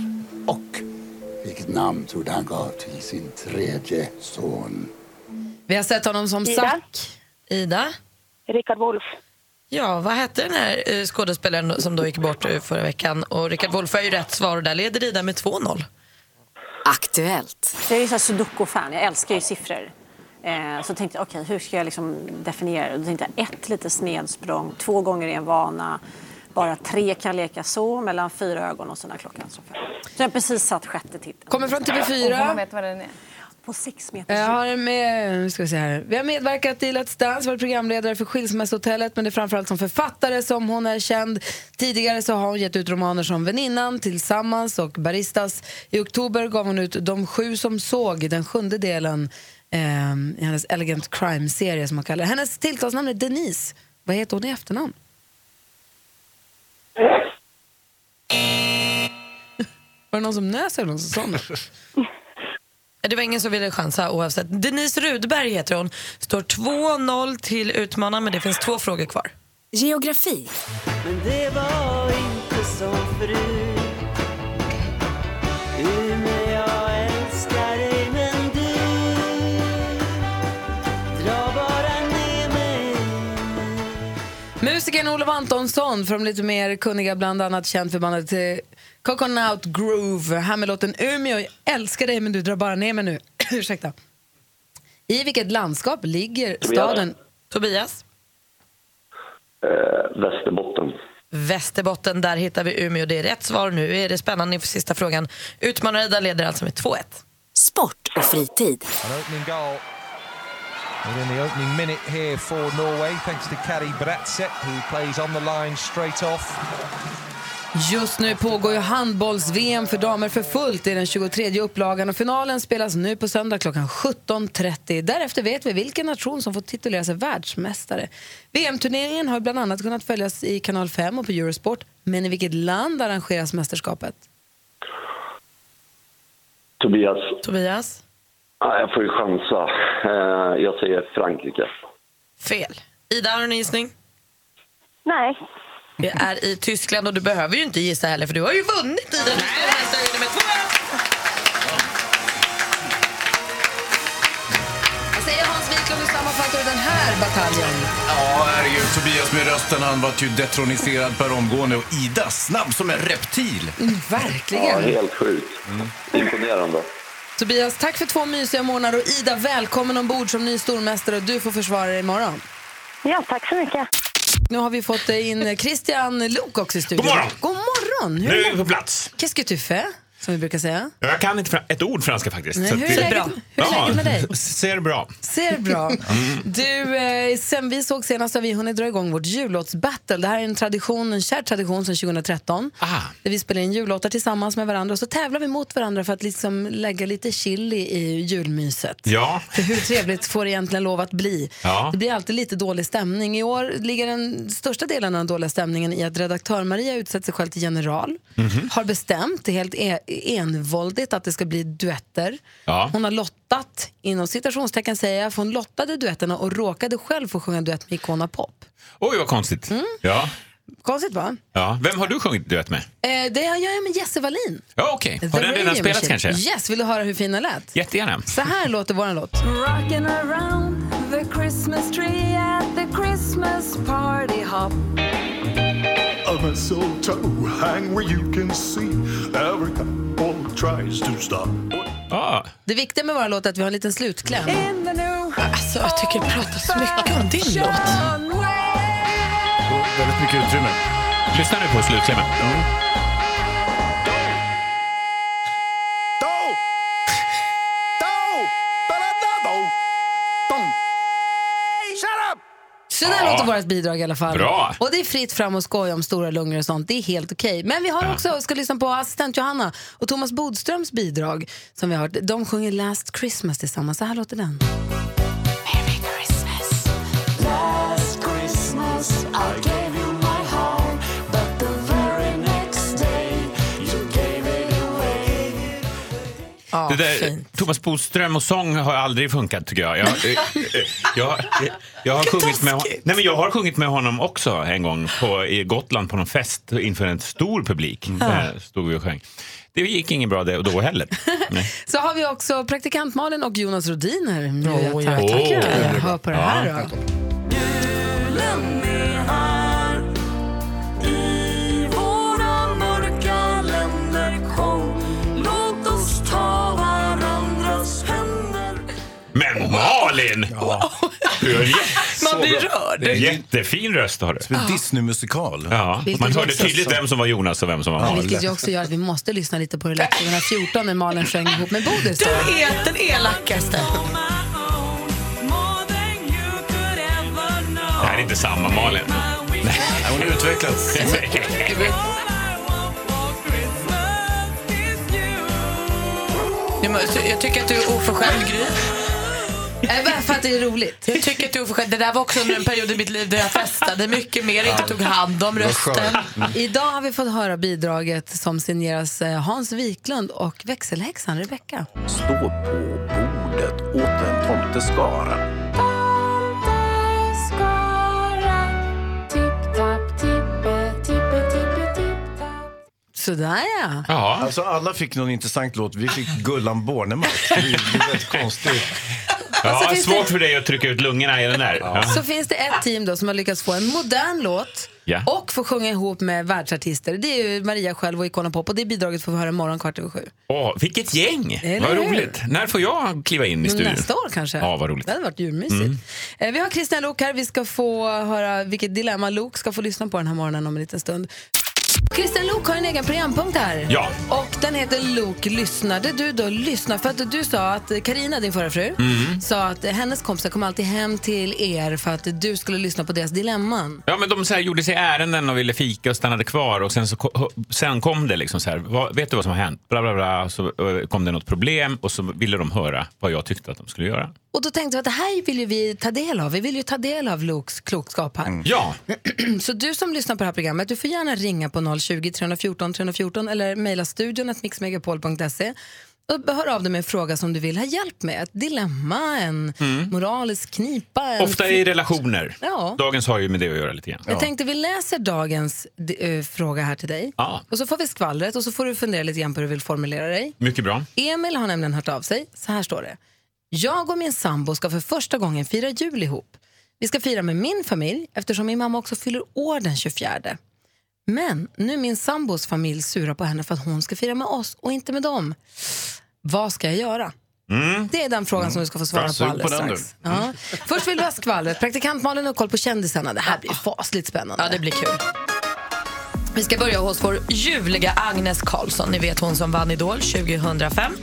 [SPEAKER 18] och vilket namn trodde han gav till sin tredje son?
[SPEAKER 2] Vi har sett honom som
[SPEAKER 8] Ida?
[SPEAKER 2] Zack.
[SPEAKER 8] Ida?
[SPEAKER 17] Rickard Wolff.
[SPEAKER 8] Ja, vad hette den här eh, skådespelaren som då gick bort eh, förra veckan? Och Rickard Wolff har ju rätt svar och där leder Ida med 2-0.
[SPEAKER 19] Aktuellt. Jag är ju så här sudoku-fan, jag älskar ju siffror. Eh, så tänkte jag, okej, hur ska jag liksom definiera det? Då tänkte jag ett litet snedsprång, två gånger är en vana, bara tre kan leka så, mellan fyra ögon och sina klockan så fem. Så jag har precis satt sjätte titeln.
[SPEAKER 2] Kommer från TV4. Och får man veta
[SPEAKER 19] vad den är? På sex meter.
[SPEAKER 2] Jag har med, nu ska vi se här. Vi har medverkat i Let's Dance, varit programledare för Skilsmässohotellet men det är framförallt som författare som hon är känd. Tidigare så har hon gett ut romaner som Väninnan, Tillsammans och Baristas. I oktober gav hon ut De sju som såg, den sjunde delen ehm, i hennes Elegant Crime-serie som hon kallar det. Hennes tilltalsnamn är Denise. Vad heter hon i efternamn? Var det någon som nös eller någon som sa något?
[SPEAKER 8] Det var ingen som ville chansa oavsett. Denise Rudberg heter hon. Står 2-0 till utmanaren men det finns två frågor kvar.
[SPEAKER 15] Geografi.
[SPEAKER 12] Men det var inte som förut Umeå, jag älskar dig men du Dra bara ner mig
[SPEAKER 2] Musikern Olof Antonsson, för de lite mer kunniga, bland annat känd för bandet eh, Coconut Groove. Här med låten Umeå. Jag älskar dig, men du drar bara ner mig nu. Ursäkta. I vilket landskap ligger
[SPEAKER 16] Tobias.
[SPEAKER 2] staden...
[SPEAKER 8] Tobias?
[SPEAKER 16] Eh, Västerbotten.
[SPEAKER 20] Västerbotten. Där hittar vi Umeå. Det är rätt svar. Nu är det spännande inför sista frågan. Utmanare Ida leder alltså med 2-1.
[SPEAKER 15] Sport och fritid.
[SPEAKER 21] An opening goal within the opening minute here for Norway, thanks to Kari Bratseth, who plays on the line straight off.
[SPEAKER 2] Just nu pågår ju handbolls-VM för damer för fullt i den 23 upplagan och finalen spelas nu på söndag klockan 17.30. Därefter vet vi vilken nation som får titulera sig världsmästare. VM-turneringen har bland annat kunnat följas i kanal 5 och på Eurosport. Men i vilket land arrangeras mästerskapet?
[SPEAKER 16] Tobias,
[SPEAKER 20] Tobias?
[SPEAKER 16] ah, jag får ju chansa. Eh, jag säger Frankrike.
[SPEAKER 20] Fel. Ida, har du en gissning?
[SPEAKER 17] Nej.
[SPEAKER 20] Det är i Tyskland och du behöver ju inte gissa heller för du har ju vunnit i den.
[SPEAKER 2] Vad säger Hans Wiklund och sammanfattar den här bataljen?
[SPEAKER 4] Ja, herregud. Tobias med rösten, han var ju detroniserad per omgående. Och Ida, snabb som en reptil.
[SPEAKER 16] Ja,
[SPEAKER 2] Verkligen.
[SPEAKER 16] helt sjukt. Imponerande.
[SPEAKER 2] Tobias, tack för två mysiga månader och Ida, välkommen ombord som ny stormästare och du får försvara dig imorgon.
[SPEAKER 17] Ja, tack så mycket.
[SPEAKER 2] Nu har vi fått eh, in Christian Lok också i studion.
[SPEAKER 22] God morgon.
[SPEAKER 2] God morgon!
[SPEAKER 22] Nu är vi på plats.
[SPEAKER 2] Qu'est-ce que tu fais? Som vi brukar säga.
[SPEAKER 22] Ja, Jag kan inte fra- ett ord franska faktiskt.
[SPEAKER 2] Nej,
[SPEAKER 22] så att
[SPEAKER 2] hur
[SPEAKER 22] det-
[SPEAKER 2] är läget- hur är läget med dig?
[SPEAKER 22] Ser bra.
[SPEAKER 2] Ser bra. Du, eh, sen vi såg senast har vi hunnit dra igång vårt jullåtsbattle. Det här är en tradition, en kär tradition sedan 2013. Där vi spelar in jullåtar tillsammans med varandra och så tävlar vi mot varandra för att liksom lägga lite chili i julmyset.
[SPEAKER 22] Ja.
[SPEAKER 2] För hur trevligt får det egentligen lov att bli?
[SPEAKER 22] Ja.
[SPEAKER 2] Det blir alltid lite dålig stämning. I år ligger den största delen av den dåliga stämningen i att redaktör Maria utsett sig själv till general.
[SPEAKER 12] Mhm.
[SPEAKER 2] Har bestämt, helt e- envåldigt, att det ska bli duetter.
[SPEAKER 12] Ja.
[SPEAKER 2] Hon har lottat, inom citationstecken säger jag, för hon lottade duetterna och råkade själv få sjunga duett med Icona Pop.
[SPEAKER 22] Oj, vad konstigt. Ja.
[SPEAKER 2] Konstigt va?
[SPEAKER 22] Ja. Mm. Vem har du sjungit duett med?
[SPEAKER 2] Eh, det gör jag med Jesse Wallin.
[SPEAKER 22] Ja, okej.
[SPEAKER 2] The
[SPEAKER 22] Har den redan
[SPEAKER 2] Radio
[SPEAKER 22] spelats
[SPEAKER 2] Machine.
[SPEAKER 22] kanske?
[SPEAKER 2] Yes, vill du höra hur fin den lät?
[SPEAKER 22] Jättegärna.
[SPEAKER 2] Så här låter vår låt.
[SPEAKER 12] Rocking around the Christmas tree at the Christmas party hop.
[SPEAKER 23] A mistletoe hang where you can see every couple tries to stop.
[SPEAKER 22] Ah.
[SPEAKER 2] Det viktiga med vår låt är att vi har en liten slutkläm.
[SPEAKER 20] Alltså, jag tycker det pratas mycket om din
[SPEAKER 12] låt.
[SPEAKER 22] Väldigt mycket utrymme. Lyssna nu på slutklämmen.
[SPEAKER 2] Så där
[SPEAKER 12] Ja.
[SPEAKER 2] låter vårt bidrag i alla fall.
[SPEAKER 12] Bra.
[SPEAKER 2] Och det är fritt fram och skoja om stora lungor och sånt. Det är helt okej. Men vi har också, ska lyssna på assistent Johanna och Thomas Bodströms bidrag som vi har hört. De sjunger Last Christmas tillsammans. Så här låter den.
[SPEAKER 12] Merry Christmas. Last Christmas I gave you my heart, but the very next day you gave it away.
[SPEAKER 22] det där, Thomas Bodström och sång har aldrig funkat tycker jag. Jag, eh, eh, jag, eh, jag, har, sjungit med, hon- nej, men jag har sjungit med honom också en gång på, i Gotland på någon fest inför en stor publik.
[SPEAKER 2] Ja.
[SPEAKER 22] Där stod vi och sjöng. Det gick inget bra det, då heller. Nej.
[SPEAKER 2] Så har vi också praktikant Malin och Jonas Rodin här. Nu
[SPEAKER 22] Åh,
[SPEAKER 2] jag
[SPEAKER 22] Oh, ja.
[SPEAKER 2] tackar.
[SPEAKER 22] Åh.
[SPEAKER 2] Jag hör på det här
[SPEAKER 22] Ja.
[SPEAKER 2] då.
[SPEAKER 12] Julen är här I våra mörka länder Kom, låt oss ta varandras händer
[SPEAKER 22] Men Malin! Du har jä-
[SPEAKER 12] Man blir
[SPEAKER 22] Så bra.
[SPEAKER 12] rörd.
[SPEAKER 22] Det är en Jättefin röst har du. Som
[SPEAKER 2] en
[SPEAKER 22] Disney-musikal. Ja.
[SPEAKER 2] Vilket
[SPEAKER 22] Man hörde
[SPEAKER 2] också
[SPEAKER 22] tydligt
[SPEAKER 2] så-
[SPEAKER 22] vem som var Jonas och vem som var Malin.
[SPEAKER 2] Vilket ju också gör att vi måste lyssna lite på hur det lät 2014 när Malin sjöng ihop med Bodis. då.
[SPEAKER 20] Du är den elakaste.
[SPEAKER 22] Det här är inte samma Malin. Nej, hon Mm. har utvecklats.
[SPEAKER 20] Du må- så- Jag tycker att du är oförskämd, Gry.
[SPEAKER 2] Bara för att det är roligt.
[SPEAKER 20] Jag tycker att du är oförskämd. Det där var också under en period i mitt liv där jag festade mycket mer, inte tog hand om rösten.
[SPEAKER 2] Mm. Idag har vi fått höra bidraget som signeras eh, Hans Wiklund och växelhäxan Rebecca.
[SPEAKER 9] Stå på bordet åt en tomteskara.
[SPEAKER 2] Sådär ja.
[SPEAKER 4] Ja. Alltså alla fick någon intressant låt. Vi fick Gullan Bornemark. Det är väldigt konstigt.
[SPEAKER 2] så
[SPEAKER 22] Ja,
[SPEAKER 2] finns
[SPEAKER 22] svårt
[SPEAKER 2] det-
[SPEAKER 22] för dig att trycka ut lungorna i den där. Ja.
[SPEAKER 2] Så finns det ett team då som har lyckats få en modern låt
[SPEAKER 22] Ja.
[SPEAKER 2] och få sjunga ihop med världsartister. Det är ju Maria själv och Icona Pop och det bidraget får vi höra imorgon kvart över sju.
[SPEAKER 22] Åh, vilket gäng!
[SPEAKER 2] Eller
[SPEAKER 22] Vad
[SPEAKER 2] hur?
[SPEAKER 22] roligt. När får jag kliva in i studion?
[SPEAKER 2] Nästa år kanske.
[SPEAKER 22] Ja, vad roligt.
[SPEAKER 2] Det hade varit djurmysigt.
[SPEAKER 22] Mm.
[SPEAKER 2] Eh, Vi har Kristian Lok här. Vi ska få höra vilket dilemma Lok ska få lyssna på den här morgonen om en liten stund. Kristian Lok har en egen programpunkt här.
[SPEAKER 24] Ja.
[SPEAKER 2] Och den heter Lok lyssnade du då lyssna? För att du sa att Karina din förra fru,
[SPEAKER 22] Mm.
[SPEAKER 2] sa att hennes kompisar kom alltid hem till er för att du skulle lyssna på deras dilemman.
[SPEAKER 22] Ja, men de så här gjorde sig ärenden och ville fika och stannade kvar och sen, så, ko- sen kom det liksom så här, vad, vet du vad som har hänt? Bla, bla, bla. Så eh, kom det något problem och så ville de höra vad jag tyckte att de skulle göra.
[SPEAKER 2] Och då tänkte vi att det här vill ju vi ta del av. Vi vill ju ta del av Loks klokskap
[SPEAKER 22] Mm.
[SPEAKER 2] här.
[SPEAKER 22] Ja,
[SPEAKER 2] Så du som lyssnar på det här programmet, du får gärna ringa på 020-314 314 eller mejla studion att mixmegapol.se och hör av dig med en fråga som du vill ha hjälp med. Ett dilemma, en
[SPEAKER 22] Mm.
[SPEAKER 2] moralisk knipa. En
[SPEAKER 22] ofta i relationer.
[SPEAKER 2] Ja.
[SPEAKER 22] Dagens har ju med det att göra lite grann.
[SPEAKER 2] Jag tänkte vi läser dagens eh, fråga här till dig.
[SPEAKER 22] Ja.
[SPEAKER 2] Och så får vi skvallret och så får du fundera lite grann på hur du vill formulera dig.
[SPEAKER 22] Mycket bra.
[SPEAKER 2] Emil har nämligen hört av sig. Så här står det. Jag och min sambo ska för första gången fira jul ihop. Vi ska fira med min familj eftersom min mamma också fyller år den 24. Men nu är min sambos familj sura på henne för att hon ska fira med oss och inte med dem. Vad ska jag göra?
[SPEAKER 24] Mm.
[SPEAKER 2] Det är den frågan som du ska få svara
[SPEAKER 24] Bra,
[SPEAKER 2] på
[SPEAKER 24] sug
[SPEAKER 2] alldeles
[SPEAKER 24] på den
[SPEAKER 2] strax. Ja. Först vill vi ha skvallret. Praktikant Malin har koll på kändisarna. Det här blir fasligt spännande.
[SPEAKER 3] Ja, det blir kul. Vi ska börja hos vår ljuvliga Agnes Karlsson. Ni vet hon som vann Idol 2005.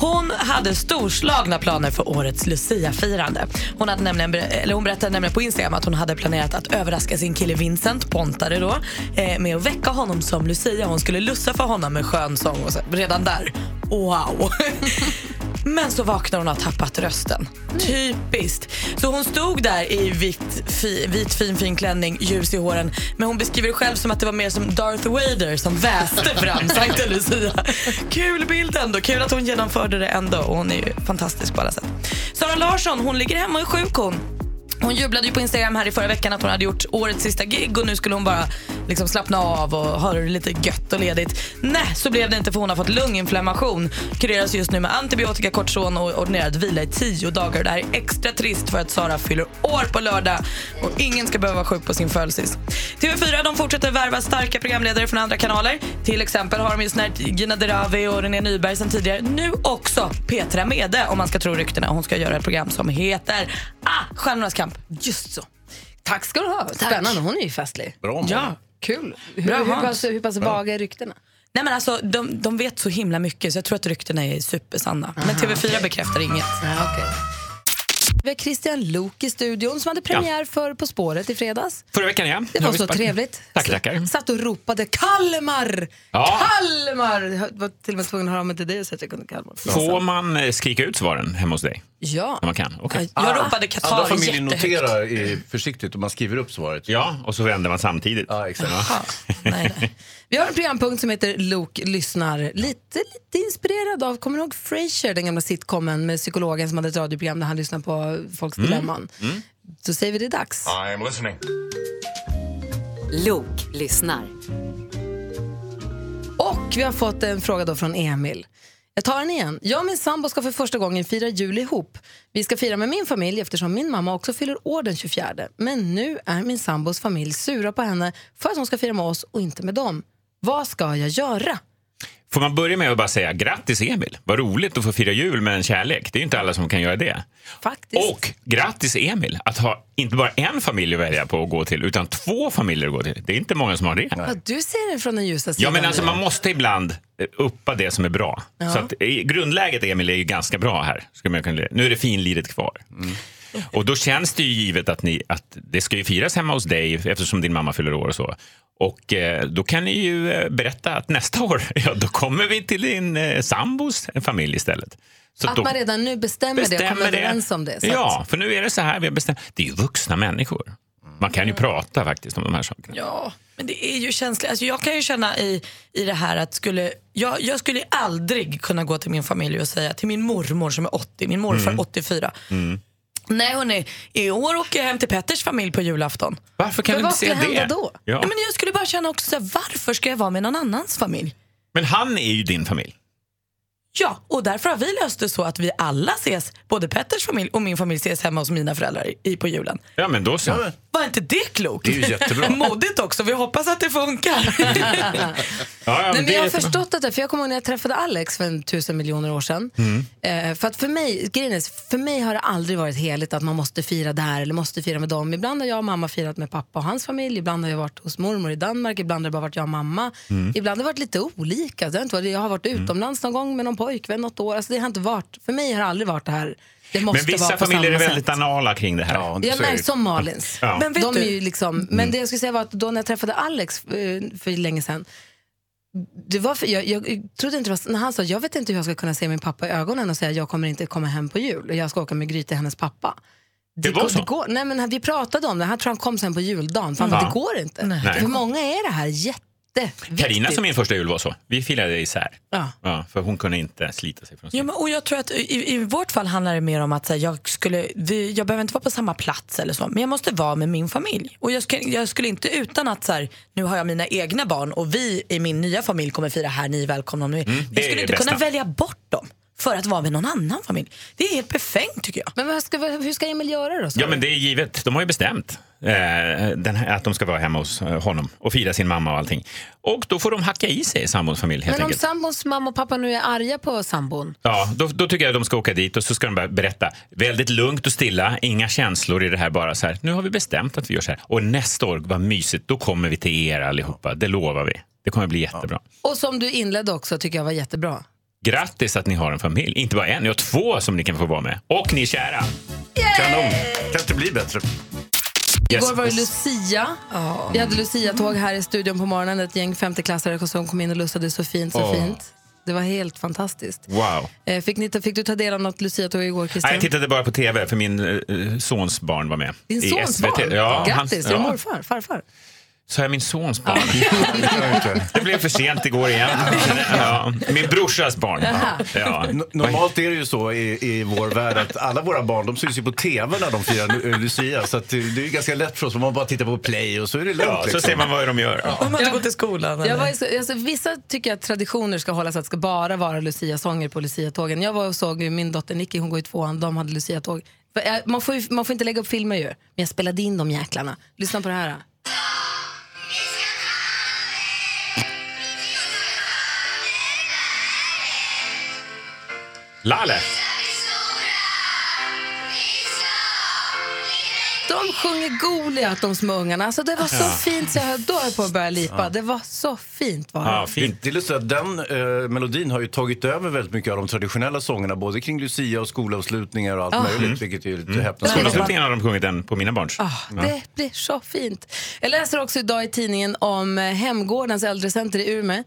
[SPEAKER 3] Hon hade storslagna planer för årets Lucia-firande. Hon, hade nämligen, eller hon berättade nämligen på Instagram att hon hade planerat att överraska sin kille Vincent Pontare då, eh, med att väcka honom som Lucia. Hon skulle lussa för honom med skön sång. Och så, redan där, wow! Men så vaknar hon och har tappat rösten. Typiskt. Så hon stod där i vit, fi, vit fin, fin klänning, ljus i håren. Men hon beskriver det själv som att det var mer som Darth Vader som väste fram Sankta Lucia. Kul bild ändå. Kul att hon genomförde det ändå. Och hon är ju fantastisk på alla sätt. Sara Larsson, hon ligger hemma och är sjuk hon. Hon jublade ju på Instagram här i förra veckan att hon hade gjort årets sista gig och nu skulle hon bara liksom slappna av och ha det lite gött och ledigt. Nej, så blev det inte för hon har fått lunginflammation. Kureras just nu med antibiotika, kortison och ordinerad vila i tio dagar. Det här är extra trist för att Sara fyller år på lördag och ingen ska behöva vara sjuk på sin födelsedag. TV4 de fortsätter värva starka programledare från andra kanaler. Till exempel har de ju snärt Gina Dirawi och René Nyberg sen tidigare. Nu också Petra Mede om man ska tro ryktena. Hon ska göra ett program som heter ah, Stjärnornas kamp. Just så.
[SPEAKER 2] Tack ska du ha. Spännande. Hon är ju festlig.
[SPEAKER 22] Bra
[SPEAKER 2] Ja, kul. Hur,
[SPEAKER 3] Bra,
[SPEAKER 2] hur,
[SPEAKER 3] Hans.
[SPEAKER 2] pass, hur pass
[SPEAKER 3] Bra.
[SPEAKER 2] vaga är ryktena?
[SPEAKER 3] Nej men alltså de, de vet så himla mycket så jag tror att ryktena är supersanna. Men TV4 bekräftar inget.
[SPEAKER 2] Vi har Christian Lok i studion som hade premiär för På spåret i fredags.
[SPEAKER 22] Förra veckan ja.
[SPEAKER 2] Det
[SPEAKER 22] Nu har
[SPEAKER 2] var
[SPEAKER 22] vi
[SPEAKER 2] så
[SPEAKER 22] spark-
[SPEAKER 2] trevligt.
[SPEAKER 22] Tackar, tackar.
[SPEAKER 2] Satt och ropade Kalmar!
[SPEAKER 22] Ja.
[SPEAKER 2] Kalmar! Jag var till och med tvungen att höra av mig till dig så att jag kunde Kalmar.
[SPEAKER 22] Får man eh, skrika ut svaren hemma hos dig?
[SPEAKER 2] Ja.
[SPEAKER 22] Man kan? Okej. Ah.
[SPEAKER 2] Jag
[SPEAKER 3] ropade Qatar
[SPEAKER 4] Alla familjen
[SPEAKER 3] jättehögt.
[SPEAKER 4] noterar i, försiktigt och man skriver upp svaret.
[SPEAKER 22] Ja, och så vänder man samtidigt.
[SPEAKER 4] Ja, exakt.
[SPEAKER 2] Vi har en programpunkt som heter Lok lyssnar. Lite, lite inspirerad av, kommer du ihåg Frasier, den gamla sitcomen med psykologen som hade ett radioprogram där han lyssnade på folks
[SPEAKER 22] Mm.
[SPEAKER 2] dilemman? Så säger vi det är dags.
[SPEAKER 12] I'm listening.
[SPEAKER 25] Lok lyssnar.
[SPEAKER 2] Och vi har fått en fråga då från Emil. Jag tar den igen. Jag och min sambo ska för första gången fira jul ihop. Vi ska fira med min familj eftersom min mamma också fyller år den 24. Men nu är min sambos familj sura på henne för att hon ska fira med oss och inte med dem. Vad ska jag göra?
[SPEAKER 22] Får man börja med att bara säga grattis Emil? Vad roligt att få fira jul med en kärlek. Det är ju inte alla som kan göra det.
[SPEAKER 2] Faktiskt.
[SPEAKER 22] Och grattis Emil att ha inte bara en familj att välja på att gå till utan två familjer att gå till. Det är inte många som har det.
[SPEAKER 2] Ja, du ser det från den ljusa sidan.
[SPEAKER 22] Ja, men alltså
[SPEAKER 2] nu.
[SPEAKER 22] man måste ibland eh, uppa det som är bra.
[SPEAKER 2] Ja.
[SPEAKER 22] Så att, i grundläget, Emil, är ju ganska bra här. Ska man kunna, nu är det finliret kvar.
[SPEAKER 2] Mm.
[SPEAKER 22] Och då känns det ju givet att, ni, att det ska ju firas hemma hos dig eftersom din mamma fyller år och så. Och eh, då kan ni ju eh, berätta att nästa år, ja då kommer vi till din eh, sambos familj istället. Så
[SPEAKER 2] Att
[SPEAKER 22] då
[SPEAKER 2] man redan nu bestämmer, det och kommer överens om det. Så
[SPEAKER 22] Ja,
[SPEAKER 2] att,
[SPEAKER 22] för nu är det så här vi har bestämt. Det är ju vuxna människor. Man kan
[SPEAKER 2] Mm.
[SPEAKER 22] ju prata faktiskt om de här sakerna.
[SPEAKER 3] Ja, men det är ju känsligt. Alltså jag kan ju känna i, i det här att skulle, jag, jag skulle aldrig kunna gå till min familj och säga till min mormor som är 80, min morfar
[SPEAKER 22] Mm.
[SPEAKER 3] 84. Nej hörni, i år åker jag hem till Petters familj på julafton.
[SPEAKER 22] Varför kan Men du inte vad säga skulle det? hända då? Ja.
[SPEAKER 3] Ja. men jag skulle bara känna också så här, varför ska jag vara med någon annans familj?
[SPEAKER 22] Men han är ju din familj.
[SPEAKER 3] Ja, och därför har vi löst det så att vi alla ses, både Petters familj och min familj ses hemma hos mina föräldrar i, på julen.
[SPEAKER 22] Ja, men då så.
[SPEAKER 3] Var inte det klokt?
[SPEAKER 22] Det är ju jättebra.
[SPEAKER 3] Modigt också, vi hoppas att det funkar.
[SPEAKER 22] Ja, ja,
[SPEAKER 2] Nej, men
[SPEAKER 22] det
[SPEAKER 2] jag
[SPEAKER 22] är
[SPEAKER 2] har
[SPEAKER 22] jättebra.
[SPEAKER 2] förstått att det, för jag kommer ihåg när jag träffade Alex för en tusen miljoner år sedan.
[SPEAKER 22] Mm.
[SPEAKER 2] Eh, för att för mig, grejen är, för mig har det aldrig varit heligt att man måste fira där eller måste fira med dem. Ibland har jag och mamma firat med pappa och hans familj, ibland har jag varit hos mormor i Danmark, ibland har det bara varit jag och mamma.
[SPEAKER 12] Mm.
[SPEAKER 2] Ibland har det varit lite olika. Det har inte varit, jag har varit
[SPEAKER 22] Mm.
[SPEAKER 2] utomlands någon gång med någon pojkvän något år. Alltså, det har inte varit, för mig har det aldrig varit det här, det måste
[SPEAKER 22] Men vissa
[SPEAKER 2] vara på
[SPEAKER 22] familjer är
[SPEAKER 2] samma
[SPEAKER 22] väldigt
[SPEAKER 2] sätt.
[SPEAKER 22] anala kring det här. Ja,
[SPEAKER 2] Ja, men som Malins.
[SPEAKER 22] Ja. Mm.
[SPEAKER 2] Men,
[SPEAKER 22] vet
[SPEAKER 2] de
[SPEAKER 22] du-
[SPEAKER 2] är ju liksom, men det jag skulle säga var att då när jag träffade Alex eh, för länge sedan, det var för, jag, jag trodde inte det var, s- när han sa jag vet inte hur jag ska kunna se min pappa i ögonen och säga jag kommer inte komma hem på jul och jag ska åka med Gry till hennes pappa.
[SPEAKER 12] Det var
[SPEAKER 2] går-
[SPEAKER 12] så?
[SPEAKER 2] Det går, nej men han- vi pratade om det, han tror han kom sen på juldagen, för han
[SPEAKER 22] Mm.
[SPEAKER 2] bara,
[SPEAKER 22] Ja.
[SPEAKER 2] det går inte.
[SPEAKER 22] Nej.
[SPEAKER 2] För många är det här jätteviktigt.
[SPEAKER 22] Carina som min första jul var så. Vi firade isär.
[SPEAKER 2] Ja.
[SPEAKER 22] Ja, för hon kunde inte slita sig från
[SPEAKER 3] Ja, men, och jag tror att i, i vårt fall handlar det mer om att så här, jag, skulle, vi, jag behöver inte vara på samma plats eller så, men jag måste vara med min familj. Och jag, ska, jag skulle inte utan att så här, nu har jag mina egna barn och vi i min nya familj kommer fira här, ni är välkomna om ni vill.
[SPEAKER 12] Mm, det
[SPEAKER 3] Jag
[SPEAKER 12] är
[SPEAKER 3] skulle
[SPEAKER 12] det
[SPEAKER 3] inte kunna
[SPEAKER 12] bästa.
[SPEAKER 3] välja bort dem för att vara med någon annan familj. Det är helt befängt tycker jag.
[SPEAKER 2] Men vad ska, vad- hur ska Emil göra då? sa
[SPEAKER 22] Ja,
[SPEAKER 2] du?
[SPEAKER 22] men det är givet. De har ju bestämt eh, den här, att de ska vara hemma hos eh, honom och fira sin mamma och allting. Och då får de hacka i sig sambons familj helt
[SPEAKER 2] men om
[SPEAKER 22] enkelt.
[SPEAKER 2] sambons mamma och pappa nu är arga på sambon,
[SPEAKER 22] Ja, då, då tycker jag de ska åka dit och så ska de bara berätta väldigt lugnt och stilla, inga känslor i det här bara så här. Nu har vi bestämt att vi gör så här och nästa år, vad mysigt, då kommer vi till er allihopa. Det lovar vi. Det kommer bli jättebra.
[SPEAKER 2] och som du inledde också tycker jag var jättebra.
[SPEAKER 22] Grattis att ni har en familj, inte bara en, ni har två som ni kan få vara med och ni är kära. Kanon, kan inte bli bättre.
[SPEAKER 2] Igår var det Lucia. Vi hade Lucia-tåg här i studion på morgonen. Ett gäng femteklassare som kom in och lussade så fint, så
[SPEAKER 22] Åh.
[SPEAKER 2] fint. Det var helt fantastiskt.
[SPEAKER 22] Wow.
[SPEAKER 2] Eh, Fick, ni, fick du ta del av något Lucia-tåg igår,
[SPEAKER 22] Nej,
[SPEAKER 2] Christian?
[SPEAKER 22] jag tittade bara på tv för min eh, sons barn var med.
[SPEAKER 2] Din
[SPEAKER 22] i
[SPEAKER 2] sons
[SPEAKER 22] SVT.
[SPEAKER 2] barn?
[SPEAKER 22] Ja,
[SPEAKER 2] Grattis, är det
[SPEAKER 22] ja.
[SPEAKER 2] morfar? Farfar?
[SPEAKER 22] Så är min sons barn. det blev för sent igår igen. Ja. Min brorsas barn. Ja.
[SPEAKER 4] N- Normalt är det ju så i, i vår värld att alla våra barn de syns ju på tv när de firar Lu- eh, Lucia. Så att eh, det är ju ganska lätt för oss om man bara tittar på play och så är det lugnt. liksom.
[SPEAKER 22] Ja, så ser man vad de gör.
[SPEAKER 3] Om man inte går till skolan.
[SPEAKER 2] Jag
[SPEAKER 3] eller?
[SPEAKER 2] var, ju så- alltså, vissa tycker att traditioner ska hållas, att det ska bara vara Lucia-sånger på Lucia-tågen. Jag var och såg ju min dotter Nicky, hon går i tvåan, de hade Lucia-tåg. För, eh, Man får, ju, man får inte lägga upp filmer ju, men jag spelade in de jäklarna. Lyssna på det här.
[SPEAKER 22] Lalle!
[SPEAKER 2] De sjunger Goliat, de små ungarna. Alltså, det var så
[SPEAKER 4] Ja.
[SPEAKER 2] fint så jag höll då höll jag på att börja lipa.
[SPEAKER 4] Ja.
[SPEAKER 2] Det var så fint. Var det.
[SPEAKER 22] Ja, fint.
[SPEAKER 4] Det är lustigt att den eh, melodin har ju tagit över väldigt mycket av de traditionella sångerna, både kring Lucia och skolavslutningar och allt
[SPEAKER 2] Ja.
[SPEAKER 4] möjligt,
[SPEAKER 22] Mm.
[SPEAKER 4] vilket är ju lite häpnadsväckande.
[SPEAKER 22] Skolavslutningen har de sjungit den på mina barns. Ja.
[SPEAKER 2] Ah, Det blir så fint. Jag läser också idag i tidningen om eh, Hemgårdens äldrecenter i Umeå.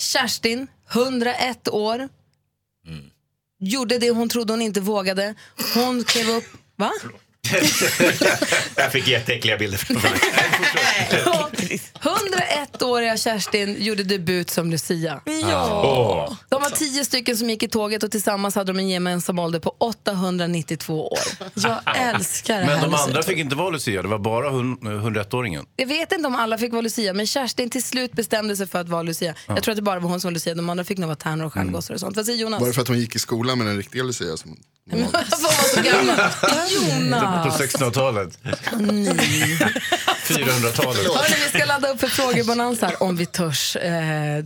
[SPEAKER 2] Kerstin, 101 år, gjorde det hon trodde hon inte vågade. Hon klev upp... Va?
[SPEAKER 22] Jag fick jätteäckliga bilder framför mig.
[SPEAKER 2] 101-åriga Kerstin gjorde debut som Lucia.
[SPEAKER 22] Åh.
[SPEAKER 2] De var tio stycken som gick i tåget och tillsammans hade de en gemensam ålder på 892 år. Jag älskar det
[SPEAKER 4] Men
[SPEAKER 2] här
[SPEAKER 4] de andra
[SPEAKER 2] Lucia.
[SPEAKER 4] fick inte vara Lucia, det var bara hun- 101-åringen.
[SPEAKER 2] Jag vet inte om alla fick vara Lucia, men Kerstin till slut bestämde sig för att vara Lucia.
[SPEAKER 6] Ja.
[SPEAKER 2] Jag tror att det bara var hon som var Lucia, de andra fick nog vara tärnor och stjärngossar och sånt. Vad säger Jonas?
[SPEAKER 6] Var det för att hon gick i skolan med den riktiga Lucia? Som...
[SPEAKER 2] Jonas!
[SPEAKER 4] 1600-talet.
[SPEAKER 2] Nej.
[SPEAKER 4] 400-talet.
[SPEAKER 2] Hörni, vi ska ladda upp för frågebonanza här, om vi törs. Eh,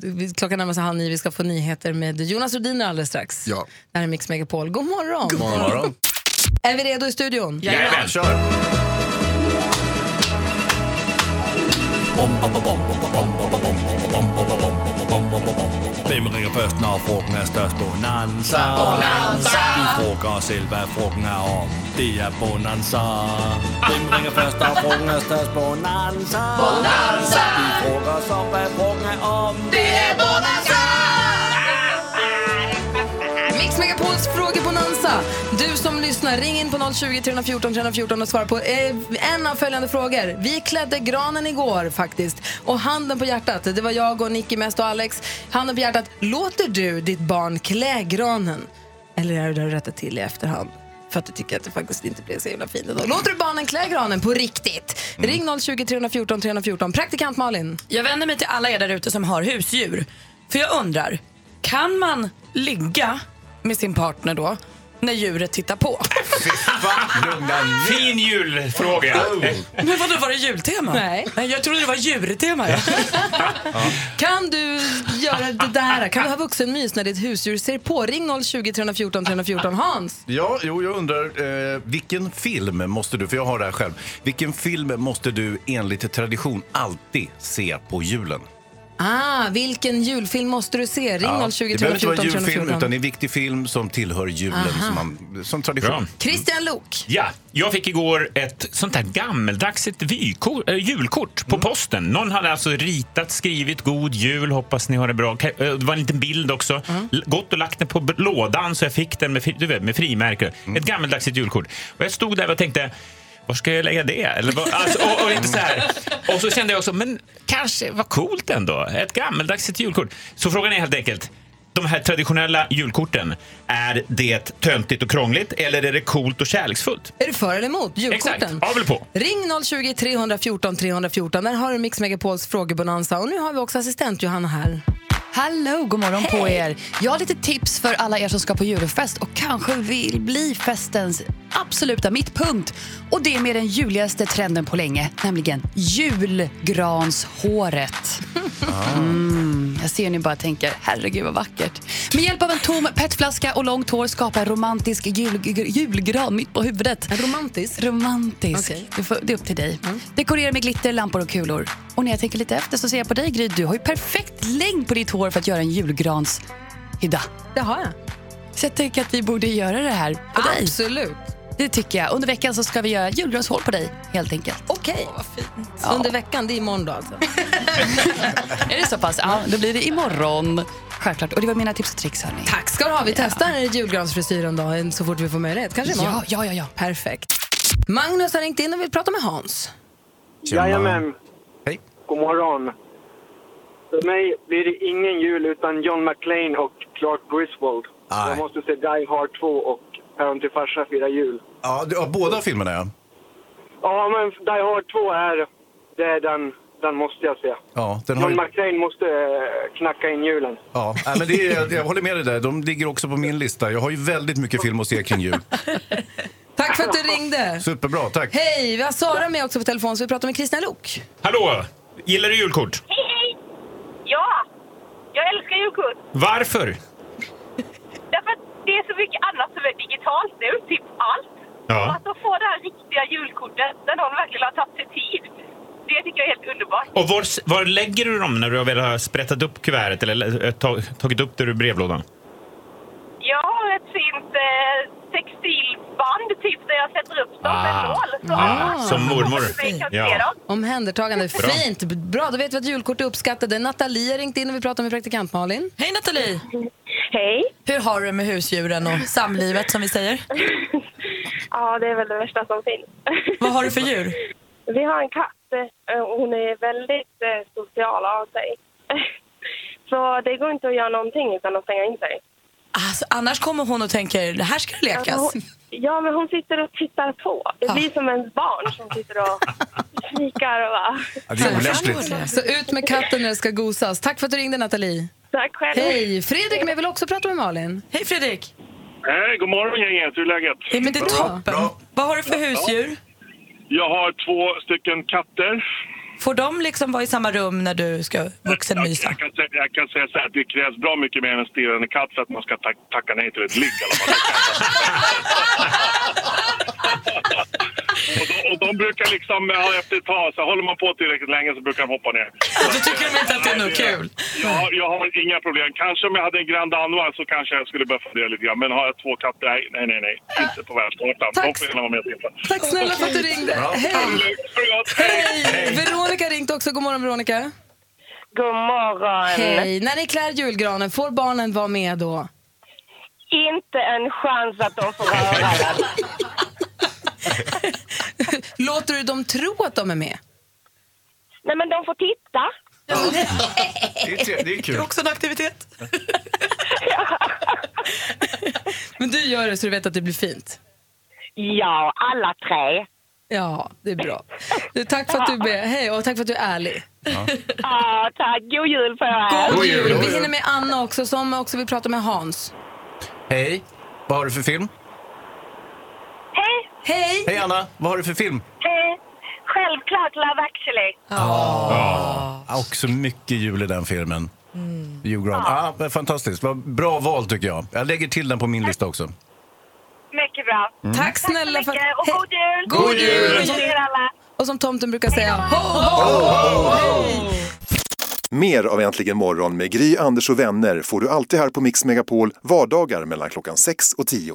[SPEAKER 2] vi- klockan närmar sig halv nio, vi ska få nyheter med Jonas Rhodiner alldeles strax.
[SPEAKER 6] Ja.
[SPEAKER 2] Det här är Mix Megapol. God morgon!
[SPEAKER 6] God morgon. God morgon.
[SPEAKER 2] Är vi redo i studion?
[SPEAKER 4] Jajamän, kör!
[SPEAKER 1] Hvem ringer først, når frugten er størst? Bonanza!
[SPEAKER 12] Bonanza!
[SPEAKER 1] Vi frugger os selv, hvad frugten er om. Det er Bonanza! Hvem ringer først, når frugten er størst? Bonanza!
[SPEAKER 12] Bonanza!
[SPEAKER 1] Vi frugger os om, hvad frugten er om.
[SPEAKER 12] Det er Bonanza!
[SPEAKER 2] Mix Megapols frågebonanza. Du som lyssnar, ring in på 020 314 314 och svara på eh, en av följande frågor. Vi klädde granen igår faktiskt. Och handen på hjärtat, det var jag och Nicky mest och Alex. Handen på hjärtat, låter du ditt barn klä granen? Eller är det där du rättar till i efterhand? För att du tycker att det faktiskt inte blev så himla fint ändå. Låter du barnen klä granen på riktigt? Ring 020 314 314. Praktikant Malin.
[SPEAKER 3] Jag vänder mig till alla er där ute som har husdjur. För jag undrar, kan man ligga med sin partner då när djuret tittar på.
[SPEAKER 22] Fin julfråga.
[SPEAKER 3] Men vadå, var det jultema?
[SPEAKER 2] Nej.
[SPEAKER 3] Jag trodde det var djurtema. Ja.
[SPEAKER 2] Kan du göra det där? Kan du ha vuxenmys när ditt husdjur ser på? Ring 020 314 314 Hans.
[SPEAKER 4] Ja, jo, jag undrar, eh, vilken film måste du, för jag har det här själv, vilken film måste du enligt tradition alltid se på julen?
[SPEAKER 2] Ah, vilken julfilm måste du se? Ring
[SPEAKER 4] Ja,
[SPEAKER 2] 020
[SPEAKER 4] det behöver inte vara
[SPEAKER 2] 314
[SPEAKER 4] en julfilm,
[SPEAKER 2] 314.
[SPEAKER 4] utan det är Mm. en viktig film som tillhör julen
[SPEAKER 2] Aha.
[SPEAKER 4] som, man, som tradition.
[SPEAKER 2] Christian Lok.
[SPEAKER 22] Ja, jag fick igår ett sånt här gammeldagset vykort, eh, julkort på posten. Någon hade alltså ritat, skrivit God Jul, hoppas ni har det bra. Ka- eh, Det var en liten bild också. L- Gått och lagt den på b- lådan så jag fick den med, fri- du vet, med frimärke. Ett gammeldagsigt julkort. Och jag stod där och tänkte var ska jag lägga det? Eller, vad- alltså, och, och, lite så här. och så kände jag också, men kanske, vad coolt ändå. Ett gammeldagset julkort. Så frågan är helt enkelt, de här traditionella julkorten, är det töntigt och krångligt eller är det coolt och kärleksfullt?
[SPEAKER 2] Är du för eller emot julkorten?
[SPEAKER 22] Exakt, av eller på.
[SPEAKER 2] Ring 020 314 314. Där har du Mix Megapols frågebonanza. Och nu har vi också assistent Johanna här.
[SPEAKER 5] Hallå, god morgon på er. Jag har lite tips för alla er som ska på julfest och kanske vill bli festens absoluta mittpunkt. Och det med den juligaste trenden på länge, nämligen julgranshåret. Mm, jag ser hur ni bara tänker, herregud vad vackert. Med hjälp av en tom petflaska och långt hår skapa en romantisk jul, julgran mitt på huvudet.
[SPEAKER 2] Romantisk?
[SPEAKER 5] Romantisk.
[SPEAKER 2] Okej.
[SPEAKER 5] Det, får, det är upp till dig.
[SPEAKER 3] Mm.
[SPEAKER 5] Dekorera med glitter, lampor och kulor. Och när jag tänker lite efter så ser jag på dig Gry, du har ju perfekt längd på ditt hår för att göra en julgranshydda.
[SPEAKER 2] Det har jag.
[SPEAKER 5] Så jag tänker att vi borde göra det här på dig.
[SPEAKER 2] Absolut.
[SPEAKER 5] Det tycker jag. Under veckan så ska vi göra julgranshår på dig helt enkelt.
[SPEAKER 2] Okej. Så Under veckan, det är imorgon då alltså.
[SPEAKER 5] Är det så pass? Ja, då blir det imorgon. Självklart. Och det var mina tips och tricks hörni.
[SPEAKER 2] Tack ska du ha. Vi testar julgransfrisyren då en- så fort vi får möjlighet. Kanske
[SPEAKER 5] Ja,
[SPEAKER 2] imorgon.
[SPEAKER 5] ja, ja, ja.
[SPEAKER 2] Perfekt. Magnus har ringt in och vill prata med Hans.
[SPEAKER 7] Tjena. Jajamän.
[SPEAKER 4] Hej.
[SPEAKER 7] God morgon. För mig blir det ingen jul utan John McClane och Clark Griswold.
[SPEAKER 4] Aj.
[SPEAKER 7] Jag måste se Die Hard 2 och Päron till farsa fira jul.
[SPEAKER 4] Ja, du- ja, båda filmerna ja.
[SPEAKER 7] Ja, men Die Hard 2 är, det är den, den måste jag se.
[SPEAKER 4] ja den har,
[SPEAKER 7] John
[SPEAKER 4] ju-
[SPEAKER 7] McClane måste eh, knacka in julen.
[SPEAKER 4] Ja, nej, men det är, jag håller med dig där. De ligger också på min lista. Jag har ju väldigt mycket film att se kring jul.
[SPEAKER 2] Tack för att du ringde.
[SPEAKER 4] Superbra, tack.
[SPEAKER 2] Hej, vi har Sara med också på telefon så vi pratar med Christian Lok.
[SPEAKER 22] Hallå, gillar du julkort?
[SPEAKER 26] Hej, hej! Ja, jag älskar julkort.
[SPEAKER 22] Varför?
[SPEAKER 26] Därför att det är så mycket annat som är digitalt nu, typ allt.
[SPEAKER 22] Ja.
[SPEAKER 26] Och Att de får det här riktiga julkortet där någon verkligen har tagit sig tid, det tycker jag är helt underbart.
[SPEAKER 22] Och var, var lägger du dem när du väl har sprättat upp kuvertet eller eh, ta- tagit upp det ur brevlådan?
[SPEAKER 26] Jag har ett fint eh, textilband typ där jag sätter upp dem med
[SPEAKER 22] Ah.
[SPEAKER 26] nål. Så
[SPEAKER 22] Ah, som mormor.
[SPEAKER 26] Vi kan se
[SPEAKER 22] Ja.
[SPEAKER 26] dem.
[SPEAKER 2] Omhändertagande,
[SPEAKER 22] Bra.
[SPEAKER 2] fint. Bra, då vet vi att julkort är uppskattade. Nathalie har ringt in och vi pratar med praktikant Malin.
[SPEAKER 3] Hej Nathalie!
[SPEAKER 26] Hej!
[SPEAKER 3] Hur har du det med husdjuren och samlivet som vi säger?
[SPEAKER 26] Ja, det är väl det värsta som finns.
[SPEAKER 3] Vad har du för djur?
[SPEAKER 26] Vi har en katt eh, och hon är väldigt eh, social av sig. Så det går inte att göra någonting utan att stänga in sig.
[SPEAKER 3] Alltså, annars kommer hon och tänker, det här ska det
[SPEAKER 26] Ja,
[SPEAKER 3] lekas.
[SPEAKER 26] hon, ja, men hon sitter och tittar på. Det blir som en barn som sitter och kikar och bara...
[SPEAKER 4] Ja, det är olämpligt.
[SPEAKER 2] Så ut med katten när det ska gosas. Tack för att du ringde Nathalie.
[SPEAKER 26] Tack själv.
[SPEAKER 2] Hej, Fredrik men jag vill också prata med Malin.
[SPEAKER 3] Hej Fredrik!
[SPEAKER 27] Hej, god morgon gänget. Hur är läget?
[SPEAKER 3] Ja, men det är toppen. Vad har du för husdjur?
[SPEAKER 27] Jag har två stycken katter.
[SPEAKER 3] Får de liksom vara i samma rum när du ska vuxenmysa?
[SPEAKER 27] Jag kan, sä- jag kan säga så här, det krävs bra mycket mer än en stirrande katt för att man ska ta- tacka nej till ett ligg i alla fall. och, de, och de brukar liksom, ja, efter ett tag, så håller man på tillräckligt länge så brukar de hoppa ner.
[SPEAKER 3] Då tycker de inte att det är något kul.
[SPEAKER 27] Jag har, jag har inga problem. Kanske om jag hade en Grand Danois så kanske jag skulle börja fundera lite grann. Men har jag två katter? Nej, nej, nej. nej. Inte på världskartan. De får gärna vara med och titta.
[SPEAKER 2] Tack snälla för att du ringde.
[SPEAKER 27] Bra.
[SPEAKER 2] Hej! Hej! Veronica har ringt också. God morgon Veronica.
[SPEAKER 28] God morgon.
[SPEAKER 2] Hej. När ni klär julgranen, får barnen vara med då?
[SPEAKER 28] Inte en chans att de får röra den.
[SPEAKER 2] Låter du dem tro att de är med?
[SPEAKER 28] Nej, men de får titta.
[SPEAKER 4] Det är, tre- det är kul.
[SPEAKER 3] också en aktivitet.
[SPEAKER 2] Men du gör det så du vet att det blir fint.
[SPEAKER 28] Ja, alla tre.
[SPEAKER 2] Ja, det är bra. Du, tack för att du är med. Hej och tack för att du är ärlig.
[SPEAKER 26] Ja, tack. God jul på er.
[SPEAKER 4] God jul.
[SPEAKER 2] Vi hinner med Anna också som också vill prata med Hans.
[SPEAKER 4] Hej, vad har du för film?
[SPEAKER 26] Hej!
[SPEAKER 2] Hej!
[SPEAKER 4] Hej Anna, vad har du för film?
[SPEAKER 26] Hej! Självklart Love actually.
[SPEAKER 4] Ah, också mycket jul i den filmen. Hugh Grant. Ah, men fantastiskt, vad bra val tycker jag. Jag lägger till den på min lista också.
[SPEAKER 26] Mycket bra.
[SPEAKER 4] Mm.
[SPEAKER 2] Tack snälla för...
[SPEAKER 26] Mycket, och god jul!
[SPEAKER 4] God jul!
[SPEAKER 26] God jul alla!
[SPEAKER 2] Och som tomten brukar säga, ho, ho, ho, ho.
[SPEAKER 9] Mer av Äntligen morgon med Gry, Anders och vänner får du alltid här på Mix Megapol vardagar mellan klockan 6 och 10.